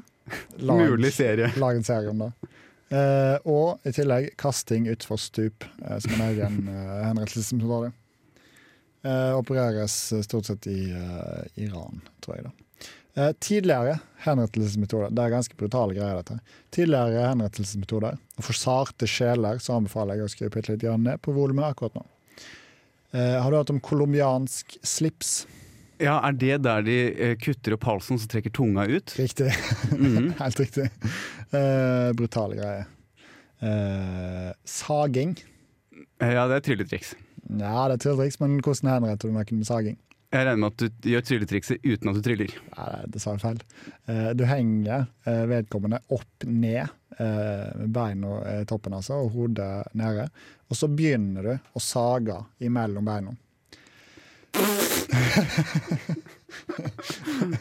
Speaker 2: lag-
Speaker 1: mulig serie.
Speaker 2: Lag en serie om det. Eh, og i tillegg kasting utfor stup, eh, som en egen eh, henrettelse. som står det. Eh, opereres stort sett i eh, Iran, tror jeg. da. Eh, tidligere henrettelsesmetoder Det er ganske brutale greier, dette. Tidligere henrettelsesmetoder, og for sarte sjeler så anbefaler jeg å skru bitte litt grann ned på volumet akkurat nå. Eh, har du hørt om colombiansk slips?
Speaker 1: Ja, Er det der de eh, kutter opp halsen så trekker tunga ut?
Speaker 2: Riktig.
Speaker 1: Mhm.
Speaker 2: Helt riktig. Eh, brutale greier. Eh, saging.
Speaker 1: Eh, Ja, det er trylletriks.
Speaker 2: Ja, det er trylletriks, men hvordan henretter du noen med saging?
Speaker 1: Jeg regner med at du gjør trylletrikset uten at du tryller.
Speaker 2: Ja, det er dessverre feil. Eh, Du henger eh, vedkommende opp ned, eh, med beina i toppen altså, og hodet nede. Og så begynner du å sage imellom beina.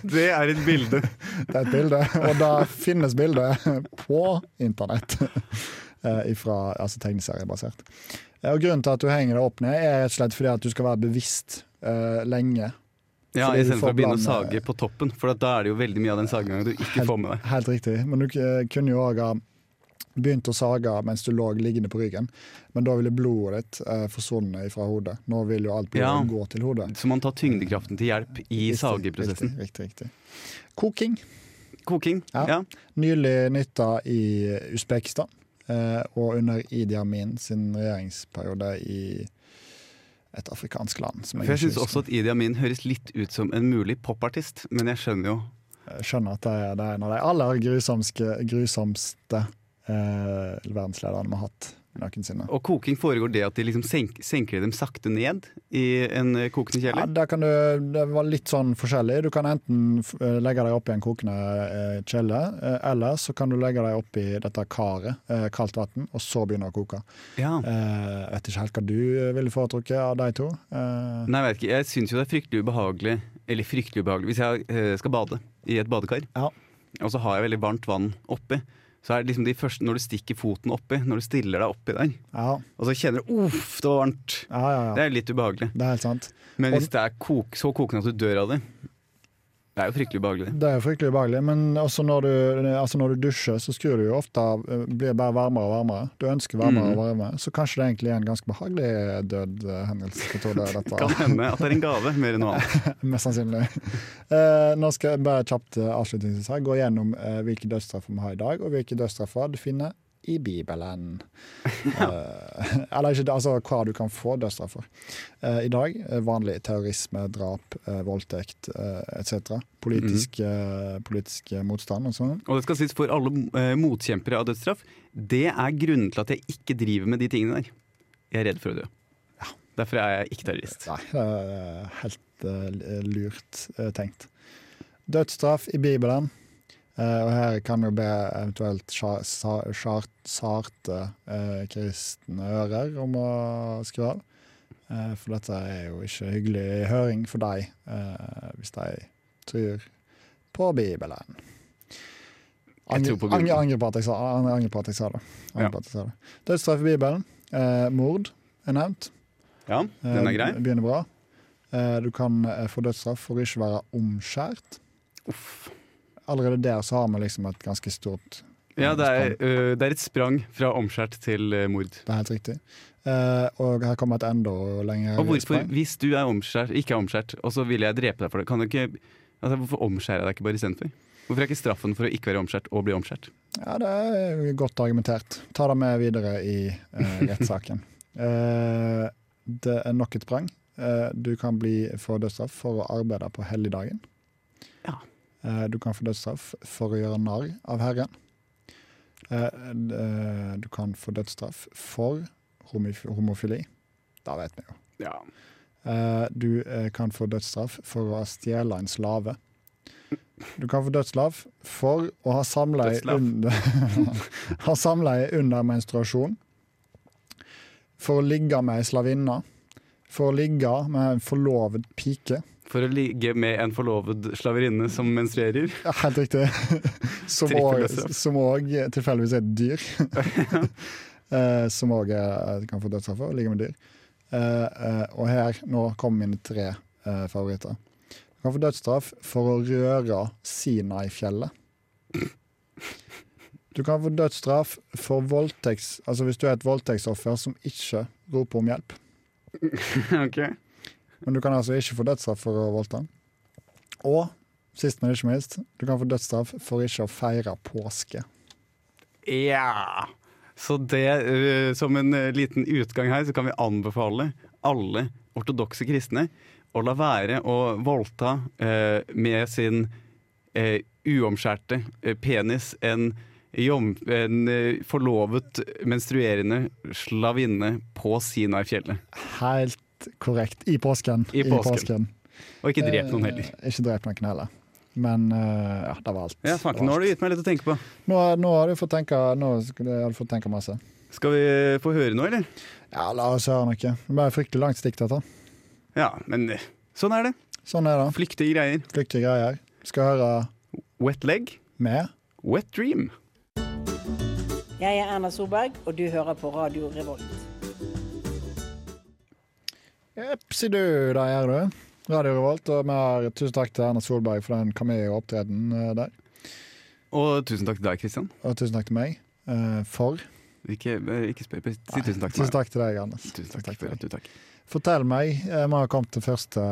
Speaker 1: Det er et bilde.
Speaker 2: Det er et bilde, og det finnes bilder på internett. eh, Ifra, altså tegneseriebasert. Eh, Og grunnen til at du henger deg opp ned, er rett og slett fordi at du skal være bevisst eh, lenge.
Speaker 1: Ja,
Speaker 2: Fordi du
Speaker 1: Istedenfor
Speaker 2: får
Speaker 1: å begynne å
Speaker 2: blande-
Speaker 1: sage på toppen, for at da er det jo veldig mye av den sagegangen du ikke får med deg.
Speaker 2: Helt riktig. Men du eh, kunne jo òg ha begynt å sage mens du lå liggende på ryggen, men da ville blodet ditt eh, forsvunnet fra hodet. Nå vil jo alt blodet
Speaker 1: Ja.
Speaker 2: gå til hodet.
Speaker 1: Så man tar tyngdekraften til hjelp i
Speaker 2: Riktig,
Speaker 1: sageprosessen.
Speaker 2: Riktig, riktig, riktig. Koking.
Speaker 1: Koking.
Speaker 2: Ja.
Speaker 1: Ja.
Speaker 2: Nylig nytta i Usbekistan, eh, og under Idi Amin sin regjeringsperiode i et afrikansk land. Som
Speaker 1: For jeg
Speaker 2: ikke
Speaker 1: syns også
Speaker 2: husker.
Speaker 1: at Idi Amin høres litt ut som en mulig popartist, men jeg skjønner jo
Speaker 2: Jeg skjønner at det er, det er en av de aller grusomske, grusomste eh, verdenslederne vi har hatt noensinne.
Speaker 1: Og koking foregår det at de liksom senk, senker dem sakte ned i en eh, kokende
Speaker 2: Ja,
Speaker 1: kjeller?
Speaker 2: der kan du, det var litt sånn forskjellig. Du kan enten f- eh, legge deg opp i en kokende eh, kjele, eh, eller så kan du legge deg opp i dette karet, eh, kaldt vann, og så begynne å koke.
Speaker 1: Ja.
Speaker 2: Eh, vet ikke helt hva du ville foretrukket av de to. Eh,
Speaker 1: Nei, jeg vet ikke. Jeg syns jo det er fryktelig ubehagelig eller fryktelig ubehagelig, hvis jeg eh, skal bade i et badekar,
Speaker 2: Ja.
Speaker 1: og så har jeg veldig varmt vann oppi, så er det liksom de første, når du stikker foten oppi, når du stiller deg oppi der,
Speaker 2: Ja,
Speaker 1: og så kjenner du uff, det var varmt.
Speaker 2: ja, ja.
Speaker 1: Det
Speaker 2: ja.
Speaker 1: er litt ubehagelig.
Speaker 2: Det er helt sant.
Speaker 1: Men
Speaker 2: Og-
Speaker 1: hvis det er kok, så kokende at du dør av det, det er jo fryktelig ubehagelig.
Speaker 2: Det er jo fryktelig ubehagelig, men også når du, altså når du dusjer, så skrur du jo ofte av eh, Blir bare varmere og varmere. Du ønsker varmere
Speaker 1: Mm.
Speaker 2: og varmere, så kanskje det egentlig er en ganske behagelig død eh, hendelsesmetode,
Speaker 1: Det
Speaker 2: dette.
Speaker 1: kan hende at det er en gave mer enn noe annet.
Speaker 2: Mest sannsynlig. Eh, nå skal jeg bare kjapt eh, avslutningsvis her gå gjennom eh, hvilke dødsstraffer vi har i dag, og hvilke dødsstraffer du finner i Bibelen. Eh, eller ikke, altså hva du kan få dødsstraff for. Eh, I dag eh, vanlig terrorisme, drap, eh, voldtekt eh, etc. Politisk, eh, politisk eh, motstand og sånn.
Speaker 1: Og det skal sies for alle eh, motkjempere av dødsstraff, det er grunnen til at jeg ikke driver med de tingene der. Jeg er redd for å dø. Derfor er jeg ikke terrorist.
Speaker 2: Nei, det er helt eh, lurt eh, tenkt. Dødsstraff i Bibelen. Eh, og her kan vi jo be eventuelt sja- sa- sjart- sarte eh, kristne ører om å skru av. Eh, for dette er jo ikke hyggelig høring for deg, eh, hvis de tror på Bibelen.
Speaker 1: Jeg tror på Bibelen.
Speaker 2: Angre, angre på at jeg sa angre, angre på at jeg sa det. Angre
Speaker 1: Ja.
Speaker 2: på at jeg sa det. Dødsstraff i Bibelen. Eh, mord er nevnt.
Speaker 1: Ja, den er grei.
Speaker 2: Eh, Begynner bra. Eh, Du kan eh, få dødsstraff for å ikke være omskjært.
Speaker 1: Uff.
Speaker 2: Allerede der så har vi liksom et ganske stort
Speaker 1: Ja, det er, eh, det er et sprang fra omskjært til eh, mord.
Speaker 2: Det er helt riktig. Eh, Og her kommer et enda lenger
Speaker 1: Og hvorfor,
Speaker 2: sprang.
Speaker 1: hvis du er omskjært, ikke er omskjært, og så vil jeg drepe deg for det, kan du ikke altså, Hvorfor omskjærer jeg deg ikke bare istedenfor? Hvorfor er ikke straffen for å ikke være omskjært og bli omskjært?
Speaker 2: Ja, det er godt argumentert. Ta det med videre i eh, rettssaken. Eh, det er nok et prang. Eh, du kan bli få dødsstraff for å arbeide på helligdagen.
Speaker 1: Ja.
Speaker 2: Eh, du kan få dødsstraff for å gjøre narr av Herren. Eh, eh, du kan få dødsstraff for homif homofili. Da vet vi jo.
Speaker 1: Ja.
Speaker 2: Eh, du eh, kan få dødsstraff for å ha stjele en slave. Du kan få dødsstraff for å ha samleie
Speaker 1: Dødsstraff.
Speaker 2: under, ha samleie under menstruasjon. For å ligge med ei slavinne. For å ligge med en forlovet pike.
Speaker 1: For å ligge med en forlovet slaverinne som menstruerer.
Speaker 2: Ja, Helt riktig. Som
Speaker 1: Trippel
Speaker 2: også-
Speaker 1: dødsstraff.
Speaker 2: Som òg tilfeldigvis er et dyr. Eh, som òg kan få dødsstraff for, å ligge med dyr. Eh, eh, Og her, nå kommer mine tre eh, favoritter. Du kan få dødsstraff for å røre Sinai-fjellet. Du kan få dødsstraff for voldtekts... Altså hvis du er et voldtektsoffer som ikke roper om hjelp.
Speaker 1: Ok.
Speaker 2: Men du kan altså ikke få dødsstraff for å voldta. Og sist, men ikke minst, du kan få dødsstraff for ikke å feire påske.
Speaker 1: Ja. Så det, eh, som en eh, liten utgang her, så kan vi anbefale alle ortodokse kristne å la være å voldta eh, med sin eh, uomskjærte eh, penis en, jom, en eh, forlovet menstruerende slavinne på Sinai-fjellet.
Speaker 2: Helt korrekt. I påsken.
Speaker 1: I påsken. Og ikke drep noen heller.
Speaker 2: Eh, ikke drep noen heller. Men eh, ja, det var alt.
Speaker 1: Ja, faen, Nå har du gitt meg litt å tenke på.
Speaker 2: nå, nå har du fått tenke, nå skulle- har du fått tenke masse.
Speaker 1: Skal vi eh, få høre noe, eller?
Speaker 2: Ja, la oss høre noe. Det ble fryktelig langt stikk, dette.
Speaker 1: Ja, men eh, sånn er det.
Speaker 2: Sånn er det.
Speaker 1: Flyktige greier.
Speaker 2: Flyktige greier. Skal høre
Speaker 1: Wet leg,
Speaker 2: med
Speaker 1: wet dream.
Speaker 6: Jeg er Erna Solberg, og du hører på Radio Revolt.
Speaker 2: Jepsidu, da gjør du. Radio Revolt, og vi har tusen takk til Erna Solberg for den cameo-opptredenen der.
Speaker 1: Og tusen takk til deg, Kristian.
Speaker 2: Og tusen takk til meg eh, for
Speaker 1: Ikke, eh, ikke spør. Si tusen takk til
Speaker 2: Tusen
Speaker 1: meg.
Speaker 2: takk til deg, Anders.
Speaker 1: Tusen takk, for at du takk.
Speaker 2: Fortell meg, eh, vi har kommet til første,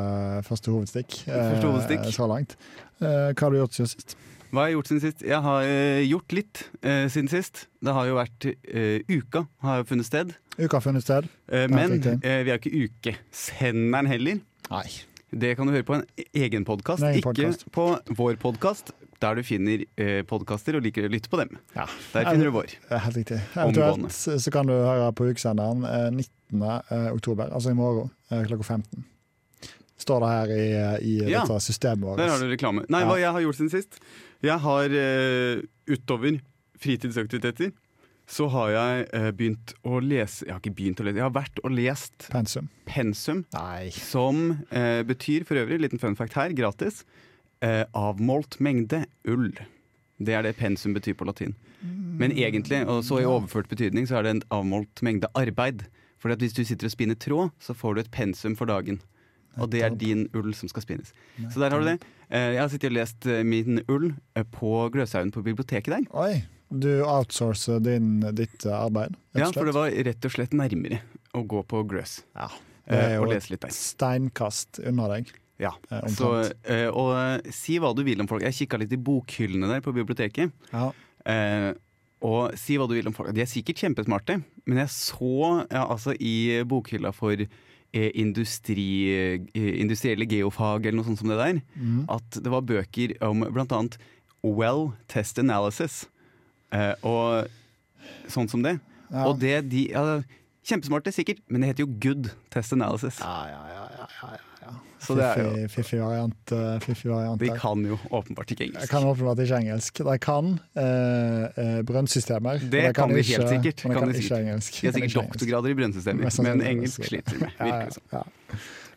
Speaker 2: første hovedstikk, eh,
Speaker 1: Første hovedstikk.
Speaker 2: så langt. Eh, Hva har du gjort siden sist?
Speaker 1: Hva har jeg gjort siden sist? Jeg har eh, gjort litt eh, siden sist. Det har jo vært eh, Uka har jo funnet sted.
Speaker 2: Uka har funnet sted?
Speaker 1: Eh,
Speaker 2: Ja,
Speaker 1: men
Speaker 2: riktig.
Speaker 1: eh, vi er jo ikke ukesenderen heller.
Speaker 2: Nei.
Speaker 1: Det kan du høre på en e-, egen podkast,
Speaker 2: En egen
Speaker 1: ikke
Speaker 2: podcast.
Speaker 1: på vår podkast. Der du finner eh, podkaster og liker å lytte på dem.
Speaker 2: Ja.
Speaker 1: Der finner du vår.
Speaker 2: Eh, Helt riktig.
Speaker 1: Omgående.
Speaker 2: Eventuelt eh, så kan du høre på ukesenderen eh, 19. eh, oktober, altså i morgen eh, klokka 15. Står det her i, eh, i
Speaker 1: Ja.
Speaker 2: dette systemet vårt.
Speaker 1: Der har du reklame. Nei,
Speaker 2: Ja.
Speaker 1: hva jeg har gjort siden sist? Jeg har eh, utover fritidsaktiviteter så har jeg eh, begynt å lese Jeg har ikke begynt å lese, jeg har vært og lest
Speaker 2: Pensum.
Speaker 1: pensum,
Speaker 2: Nei.
Speaker 1: som eh, betyr for øvrig, liten fun fact her, gratis, eh, avmålt mengde ull. Det er det pensum betyr på latin. Men egentlig, og så i
Speaker 2: Mm.
Speaker 1: overført betydning, så er det en avmålt mengde arbeid. Fordi at hvis du sitter og spinner tråd, så får du et pensum for dagen. Og det er
Speaker 2: Nettopp.
Speaker 1: din ull som skal spinnes. Så der har du det. Eh, Jeg har sittet og lest eh, min ull eh, på Gløshaugen på biblioteket der.
Speaker 2: Oi, du outsourcer din, ditt eh, arbeid, rett og
Speaker 1: Ja, for det
Speaker 2: slett.
Speaker 1: var rett og slett nærmere å gå på Grøs
Speaker 2: Ja, det
Speaker 1: eh,
Speaker 2: er
Speaker 1: og
Speaker 2: jo
Speaker 1: lese litt
Speaker 2: et
Speaker 1: der.
Speaker 2: steinkast unna deg.
Speaker 1: Ja.
Speaker 2: eh,
Speaker 1: Så,
Speaker 2: omtrent.
Speaker 1: eh, og eh, si hva du vil om folk. Jeg kikka litt i bokhyllene der på biblioteket.
Speaker 2: Ja.
Speaker 1: Eh, og si hva du vil om folk. De er sikkert kjempesmarte, men jeg så ja, altså i bokhylla for eh, industri, eh, industrielle geofag eller noe sånt som det der,
Speaker 2: Mhm.
Speaker 1: at det var bøker om bl.a. well test analysis eh, og sånt som det.
Speaker 2: Ja.
Speaker 1: Og det de ja, Kjempesmarte, sikkert, men det heter jo good test analysis.
Speaker 2: Ja, ja, ja, ja, ja, ja.
Speaker 1: Så det er jo
Speaker 2: Fiffig- Fiffig variant. eh, Fiffig variant
Speaker 1: De
Speaker 2: der.
Speaker 1: kan jo åpenbart ikke
Speaker 2: Jeg
Speaker 1: engelsk.
Speaker 2: kan åpenbart ikke engelsk. De kan eh, eh, brønnsystemer.
Speaker 1: Det
Speaker 2: men
Speaker 1: kan de helt
Speaker 2: ikke-
Speaker 1: sikkert. Kan
Speaker 2: Men de kan
Speaker 1: de
Speaker 2: ikke
Speaker 1: sikkert.
Speaker 2: engelsk.
Speaker 1: De har sikkert
Speaker 2: Kan ikke engelsk.
Speaker 1: doktorgrader i brønnsystemer,
Speaker 2: Mest sannsynlig.
Speaker 1: men engelsk sliter de med. altså.
Speaker 2: Ja,
Speaker 1: Virker det som.
Speaker 2: ja, ja.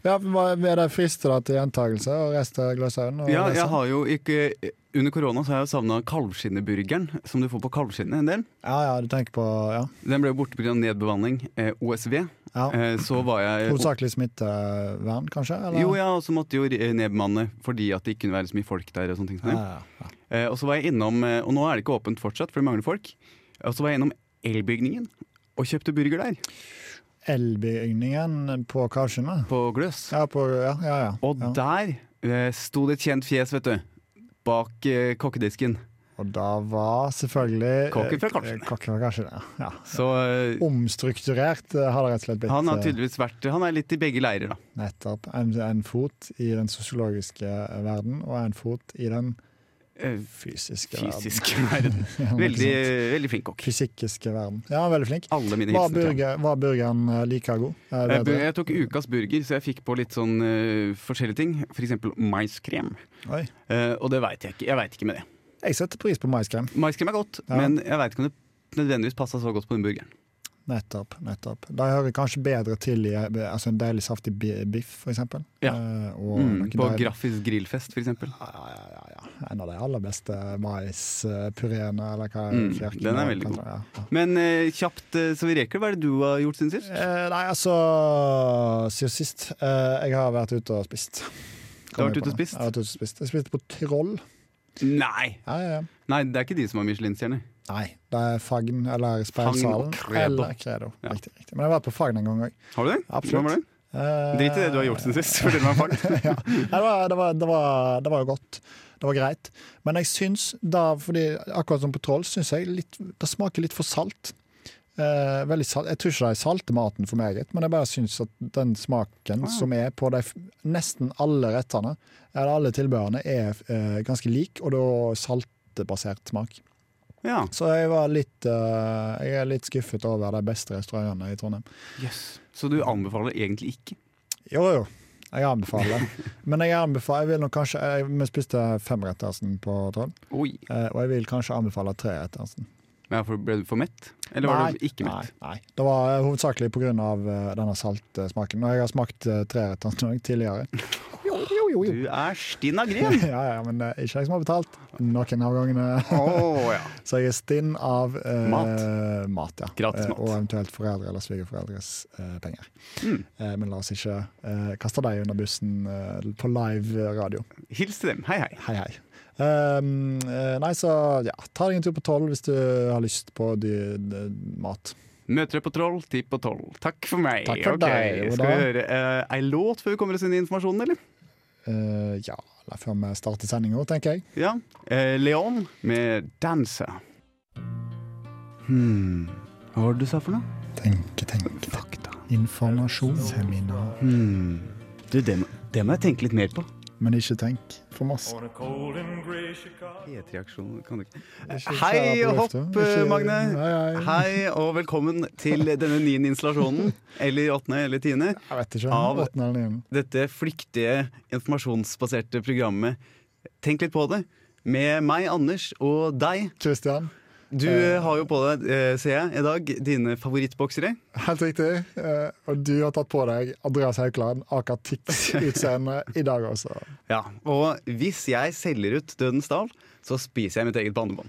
Speaker 2: ja, Er det frist da til gjentakelse og reiste til Gløshaugen? og
Speaker 1: Ja,
Speaker 2: lese?
Speaker 1: jeg har jo ikke Under korona så har jeg jo savna kalvskinneburgeren, som du får på Kalvskinnet en del.
Speaker 2: ja, ja, du tenker på ja.
Speaker 1: Den ble jo borte pga. nedbemanning. Eh, OSV.
Speaker 2: ja.
Speaker 1: Eh, så var jeg
Speaker 2: Hovedsakelig smittevern, kanskje? Eller?
Speaker 1: Jo, ja, og så måtte jo re- nedbemanne fordi at det ikke kunne være så mye folk der. Og sånne ting som
Speaker 2: Ja,
Speaker 1: det.
Speaker 2: ja, ja.
Speaker 1: Eh, og så var jeg innom eh, Og nå er det ikke åpent fortsatt, for det mangler folk. Og så var jeg innom Elbygningen og kjøpte burger der,
Speaker 2: Elbygningen på Karlsjøen?
Speaker 1: på Gløs.
Speaker 2: Ja, på, ja, ja, ja.
Speaker 1: Og
Speaker 2: ja.
Speaker 1: der eh, sto det et kjent fjes, vet du. Bak eh, kokkedisken.
Speaker 2: og da var selvfølgelig
Speaker 1: Kokken fra
Speaker 2: eh,
Speaker 1: Karlsjøen.
Speaker 2: Kokken fra Karlsjøen, ja. ja.
Speaker 1: Så eh,
Speaker 2: Omstrukturert eh, har det rett og slett blitt.
Speaker 1: han har
Speaker 2: eh,
Speaker 1: tydeligvis vært Han er litt i begge leirer, da.
Speaker 2: Nettopp. En, en fot i den sosiologiske eh, verden, og en fot i den
Speaker 1: Eh,
Speaker 2: fysiske
Speaker 1: Fysisk verden.
Speaker 2: verden.
Speaker 1: Veldig, eh, veldig flink kokk.
Speaker 2: Fysikiske verden. Ja, veldig flink.
Speaker 1: Alle mine
Speaker 2: Var,
Speaker 1: hilsener. til ham.
Speaker 2: burger, var burgeren eh, like god? Eh,
Speaker 1: Eh, bu-
Speaker 2: bedre?
Speaker 1: Jeg tok ukas burger, så jeg fikk på litt sånn eh, forskjellige ting. For eksempel maiskrem.
Speaker 2: Oi.
Speaker 1: Eh, og det veit jeg ikke. Jeg vet ikke med det.
Speaker 2: Jeg setter pris på maiskrem.
Speaker 1: Maiskrem er godt,
Speaker 2: Ja.
Speaker 1: men jeg veit ikke om det nødvendigvis passa så godt på den burgeren.
Speaker 2: Nettopp. nettopp. De hører kanskje bedre til i eh, altså en deilig, saftig bi- biff, for eksempel.
Speaker 1: Ja.
Speaker 2: Eh, og
Speaker 1: Mm,
Speaker 2: noe
Speaker 1: på
Speaker 2: deilig-
Speaker 1: Graffis grillfest, for eksempel.
Speaker 2: Ja, ja, ja, ja, ja. En av de aller beste maispureene, eller hva
Speaker 1: Mm,
Speaker 2: kjerken
Speaker 1: den er
Speaker 2: og-
Speaker 1: veldig god.
Speaker 2: Ja, ja.
Speaker 1: Men eh, kjapt eh, så vi reker, hva er det du har gjort siden sist?
Speaker 2: Eh, nei, altså Siden sist. Eh, jeg har vært ute og spist.
Speaker 1: Du har vært
Speaker 2: Kommer jeg
Speaker 1: ute
Speaker 2: på
Speaker 1: og
Speaker 2: nå.
Speaker 1: spist?
Speaker 2: Jeg har vært ute og spist. Jeg spiste på Troll.
Speaker 1: Nei!
Speaker 2: Ja, ja, ja.
Speaker 1: Nei, det er ikke de som har Michelin-stjerne.
Speaker 2: Nei, det er Fagn eller
Speaker 1: Fagn
Speaker 2: Speilsalen.
Speaker 1: og Credo.
Speaker 2: Eller Credo.
Speaker 1: Ja.
Speaker 2: Riktig, riktig. Men jeg har vært på Fagn en gang òg.
Speaker 1: Har du det?
Speaker 2: Absolutt.
Speaker 1: Hva var det?
Speaker 2: Eh,
Speaker 1: Drit i det du har gjort siden sist. Fortell meg om fart.
Speaker 2: ja. Nei, det, var, det, var, det, var, det var jo godt. Det var greit. Men jeg syns da, fordi akkurat som på Troll, syns jeg litt, det smaker litt for salt. Eh, veldig salt. Jeg tror ikke de salter maten for meget, men jeg bare syns at den smaken som er på de f nesten alle rettene, eller alle tilbehørene, er eh, ganske lik, og da saltebasert smak.
Speaker 1: Ja.
Speaker 2: Så jeg var litt eh, Jeg er litt skuffet over de beste restaurantene i Trondheim.
Speaker 1: Yes. Så du anbefaler egentlig ikke?
Speaker 2: Jo, jo. Jeg anbefaler. Men jeg anbefaler, jeg vil nok kanskje jeg, Vi spiste femrettersen på Troll,
Speaker 1: Oi.
Speaker 2: eh, og jeg vil kanskje anbefale trerettersen.
Speaker 1: Ja, for ble du for mett? Eller var du ikke mett?
Speaker 2: Nei, nei. Det var eh, hovedsakelig pga. eh, denne saltsmaken. Og jeg har smakt eh, trerettersen også tidligere. Jo, jo, jo, jo.
Speaker 1: Du er stinn av
Speaker 2: Ja,
Speaker 1: gren!
Speaker 2: ja, men eh, ikke jeg som har betalt noen av gangene.
Speaker 1: Å ja.
Speaker 2: Så jeg er stinn av eh,
Speaker 1: Mat.
Speaker 2: mat, ja.
Speaker 1: Gratis mat.
Speaker 2: Eh, og eventuelt foreldre eller svigerforeldres eh, penger.
Speaker 1: Mm.
Speaker 2: Eh, men la oss ikke eh, kaste deg under bussen eh, på live radio.
Speaker 1: Hils til dem. Hei, hei.
Speaker 2: Hei, hei. Ehm, eh, nei, så ja, ta deg en tur på tolv hvis du har lyst på dy- d- mat.
Speaker 1: Møter deg på Troll, ti på tolv. Takk for meg.
Speaker 2: Takk for
Speaker 1: Ok,
Speaker 2: deg,
Speaker 1: Skal vi
Speaker 2: Oda.
Speaker 1: høre eh, ei låt før vi kommer oss inn i informasjonen, eller?
Speaker 2: Eh, ja, eller før vi starter sendinga, tenker jeg.
Speaker 1: Ja. Eh, Leon med 'Dancer'. Hmm. Hva var det du sa for noe?
Speaker 2: Tenke, tenke.
Speaker 1: Fakta.
Speaker 2: Informasjon. Seminar.
Speaker 1: Hmm. Du, det må, det må jeg tenke litt mer på.
Speaker 2: Men ikke tenk for masse.
Speaker 1: P3-aksjon kan du ikke
Speaker 2: Ikke
Speaker 1: Hei og
Speaker 2: kjære på
Speaker 1: hopp,
Speaker 2: lufta. Ikke-
Speaker 1: Magne.
Speaker 2: Hei, hei.
Speaker 1: og velkommen til denne niende installasjonen, eller åttende eller tiende.
Speaker 2: Jeg vet ikke.
Speaker 1: Av-
Speaker 2: Åttende eller niende.
Speaker 1: Dette flyktige, informasjonsbaserte programmet Tenk litt på det, med meg, Anders, og deg,
Speaker 2: Christian.
Speaker 1: Du eh, har jo på deg, eh, ser jeg, i dag dine favorittboksere.
Speaker 2: Helt riktig. Eh, og du har tatt på deg Andreas Haukeland, Aker Tix-utseende, i dag også.
Speaker 1: Ja, Og hvis jeg selger ut Dødens dal, så spiser jeg mitt eget pannebånd.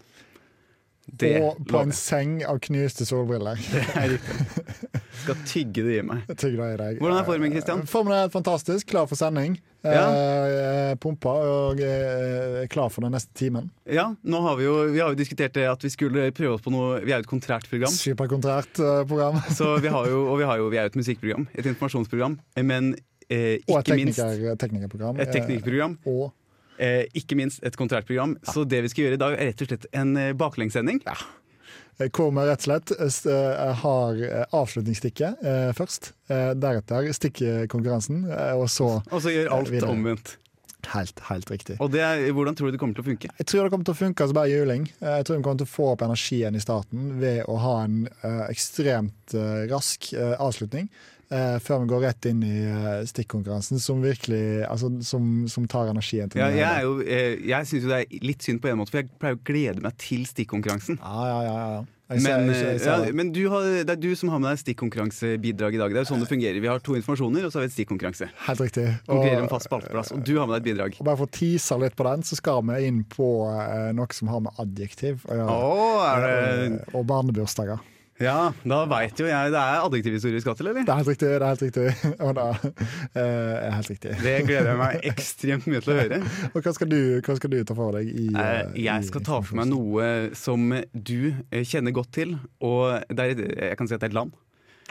Speaker 1: Det
Speaker 2: og på en
Speaker 1: lover jeg.
Speaker 2: seng av knuste solbriller.
Speaker 1: Skal tygge det i meg.
Speaker 2: Tygg deg i deg.
Speaker 1: Hvordan er formen, Christian?
Speaker 2: Eh, Formen er helt fantastisk. Klar for sending.
Speaker 1: Ja.
Speaker 2: Eh, pumpa og eh, klar for den neste timen.
Speaker 1: Ja, nå har Vi jo, vi har jo diskutert det at vi skulle prøve oss på noe Vi er jo et kontrært program.
Speaker 2: Superkontrært eh, program.
Speaker 1: Så vi har jo, og vi, har jo, vi er jo et musikkprogram, et informasjonsprogram, eh, men eh,
Speaker 2: Og
Speaker 1: ikke
Speaker 2: et
Speaker 1: minst
Speaker 2: tekniker, teknikerprogram.
Speaker 1: et teknikkprogram.
Speaker 2: Eh, og
Speaker 1: Eh, ikke minst et konsertprogram. Så det vi skal gjøre i dag, er rett og slett en eh, baklengssending.
Speaker 2: eh, hvor vi rett og slett eh, s- eh, har eh, avslutningsstikket eh, først. Eh, deretter stikkekonkurransen, eh, og så
Speaker 1: Og så gjør alt
Speaker 2: Videre.
Speaker 1: omvendt.
Speaker 2: helt, helt riktig.
Speaker 1: Og det er, hvordan tror du det kommer til å funke?
Speaker 2: Jeg tror det kommer til å funke som bare juling. Eh, Jeg tror vi kommer til å få opp energien i starten ved å ha en eh, ekstremt eh, rask eh, avslutning. eh, før vi går rett inn i eh, stikkonkurransen, som virkelig altså, som, som tar energien til
Speaker 1: Ja,
Speaker 2: den
Speaker 1: jeg
Speaker 2: hele.
Speaker 1: er jo, eh, jeg syns jo det er litt synd på en måte, for jeg pleier å glede meg til stikkonkurransen.
Speaker 2: Ja, ja, ja. ja. Jeg ser,
Speaker 1: Men,
Speaker 2: jeg, ser-
Speaker 1: eh,
Speaker 2: jeg
Speaker 1: ja,
Speaker 2: ser det.
Speaker 1: men du har, det er du som har med deg stikkonkurransebidrag i dag. Det er jo sånn det fungerer. Vi har to informasjoner, og så har vi et stikkonkurranse.
Speaker 2: Helt riktig.
Speaker 1: Konkurrerer om fast spalteplass. Og du har med deg et bidrag.
Speaker 2: og bare for å tease litt på den, så skal vi inn på eh, noe som har med adjektiv
Speaker 1: Å,
Speaker 2: å gjøre.
Speaker 1: er det
Speaker 2: Eh, og barnebursdager.
Speaker 1: Ja, da veit jo jeg Det er adjektivhistorisk skatt, eller?
Speaker 2: Det er helt riktig. det er helt riktig. Og da, eh, er helt riktig.
Speaker 1: Det gleder jeg meg ekstremt mye til å høre.
Speaker 2: Og hva skal du, hva skal du ta for deg? i...
Speaker 1: Eh,
Speaker 2: eh, i
Speaker 1: Jeg skal ta for meg noe som du eh, kjenner godt til, og det er, et- jeg kan si at det er et land.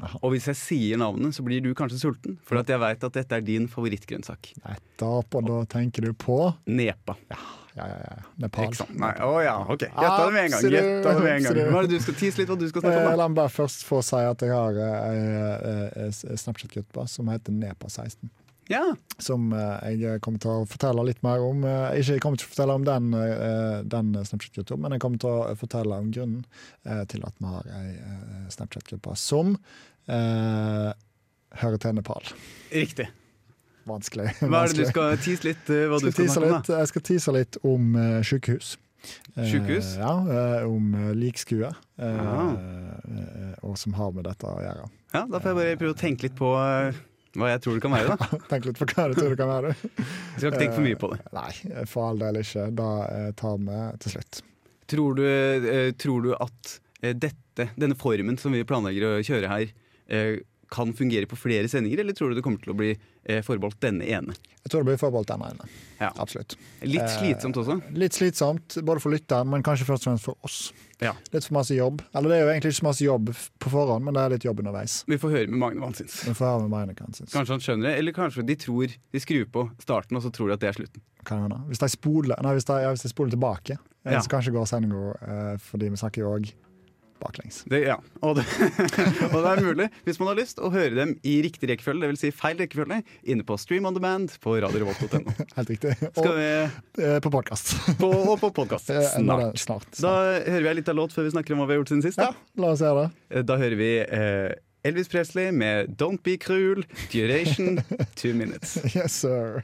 Speaker 2: Aha.
Speaker 1: Og hvis jeg sier navnet, så blir du kanskje sulten, for at jeg veit at dette er din favorittgrønnsak.
Speaker 2: Nettopp, og da tenker du på
Speaker 1: Nepa.
Speaker 2: ja, ja, ja, Nepal.
Speaker 1: Ikke sant? Nei, å ja, ok. Gjetta det med en gang.
Speaker 2: Absolutt.
Speaker 1: Gjetta det med en gang.
Speaker 2: Absolutt.
Speaker 1: Hva er det du skal tise litt hva du skal
Speaker 2: Eh,
Speaker 1: snakke om? da?
Speaker 2: La meg bare først få si at jeg har eh, ei Snapchat-gruppe som heter Nepa16.
Speaker 1: Ja,
Speaker 2: Som eh, jeg kommer til å fortelle litt mer om. Eh, Ikke, jeg kommer ikke til å fortelle om den, eh, den Snapchat-gruppa, men jeg kommer til å fortelle om grunnen eh, til at vi har ei eh, Snapchat-gruppe som eh, hører til Nepal.
Speaker 1: riktig.
Speaker 2: Vanskelig.
Speaker 1: Hva er det
Speaker 2: vanskelig.
Speaker 1: du skal tise litt eh, hva du
Speaker 2: skal
Speaker 1: skal
Speaker 2: tease
Speaker 1: snakke om?
Speaker 2: litt, jeg skal tease litt om uh, sykehus. Eh,
Speaker 1: Sykehus?
Speaker 2: ja, eh, om eh, likskue. eh,
Speaker 1: Ah.
Speaker 2: eh, og som har med dette å gjøre.
Speaker 1: da? Ja, Da får jeg bare prøve å tenke litt på eh, hva jeg tror det kan være, da.
Speaker 2: Tenk litt på hva du tror det kan være. Eh,
Speaker 1: Jeg skal ikke tenke for mye på det.
Speaker 2: Nei, for all del ikke. Da eh, tar vi til slutt.
Speaker 1: Tror du, eh, tror du at eh, dette, denne formen som vi planlegger å kjøre her, eh, kan fungere på flere sendinger, eller tror du det kommer til å bli eh, forbeholdt denne ene?
Speaker 2: Jeg tror det blir forbeholdt den ene.
Speaker 1: Ja.
Speaker 2: Absolutt.
Speaker 1: Litt
Speaker 2: Eh,
Speaker 1: slitsomt også.
Speaker 2: Litt slitsomt, både for lytteren, men kanskje først og fremst for oss.
Speaker 1: Ja.
Speaker 2: Litt for masse jobb. Eller det er jo egentlig ikke så masse jobb f- på forhånd, men det er litt jobb underveis.
Speaker 1: Vi får høre med Magne hva han syns.
Speaker 2: Vi får høre med Maine, kan synes.
Speaker 1: Kanskje han skjønner det, eller kanskje de tror de skrur på starten, og så tror de at det er slutten.
Speaker 2: Kan hende. Hvis de spoler, nei, hvis de, ja, hvis de spoler tilbake, eh,
Speaker 1: Ja.
Speaker 2: så kanskje går sendinga eh, fordi vi snakker jo òg baklengs.
Speaker 1: Det, ja. og, det, og det er mulig, hvis man har lyst, å høre dem i riktig rekkefølge, dvs. Si feil rekkefølge, inne på Stream on demand på radiorevolt.no.
Speaker 2: Helt riktig. Og
Speaker 1: Skal vi-
Speaker 2: eh, på podkast.
Speaker 1: på- Og på podkast snart.
Speaker 2: snart.
Speaker 1: Da hører vi ei lita låt før vi snakker om hva vi har gjort siden sist.
Speaker 2: Ja,
Speaker 1: Da.
Speaker 2: la oss gjøre det.
Speaker 1: Da hører vi eh, Elvis Presley med 'Don't Be Cruel', duration two minutes.
Speaker 2: Yes, sir.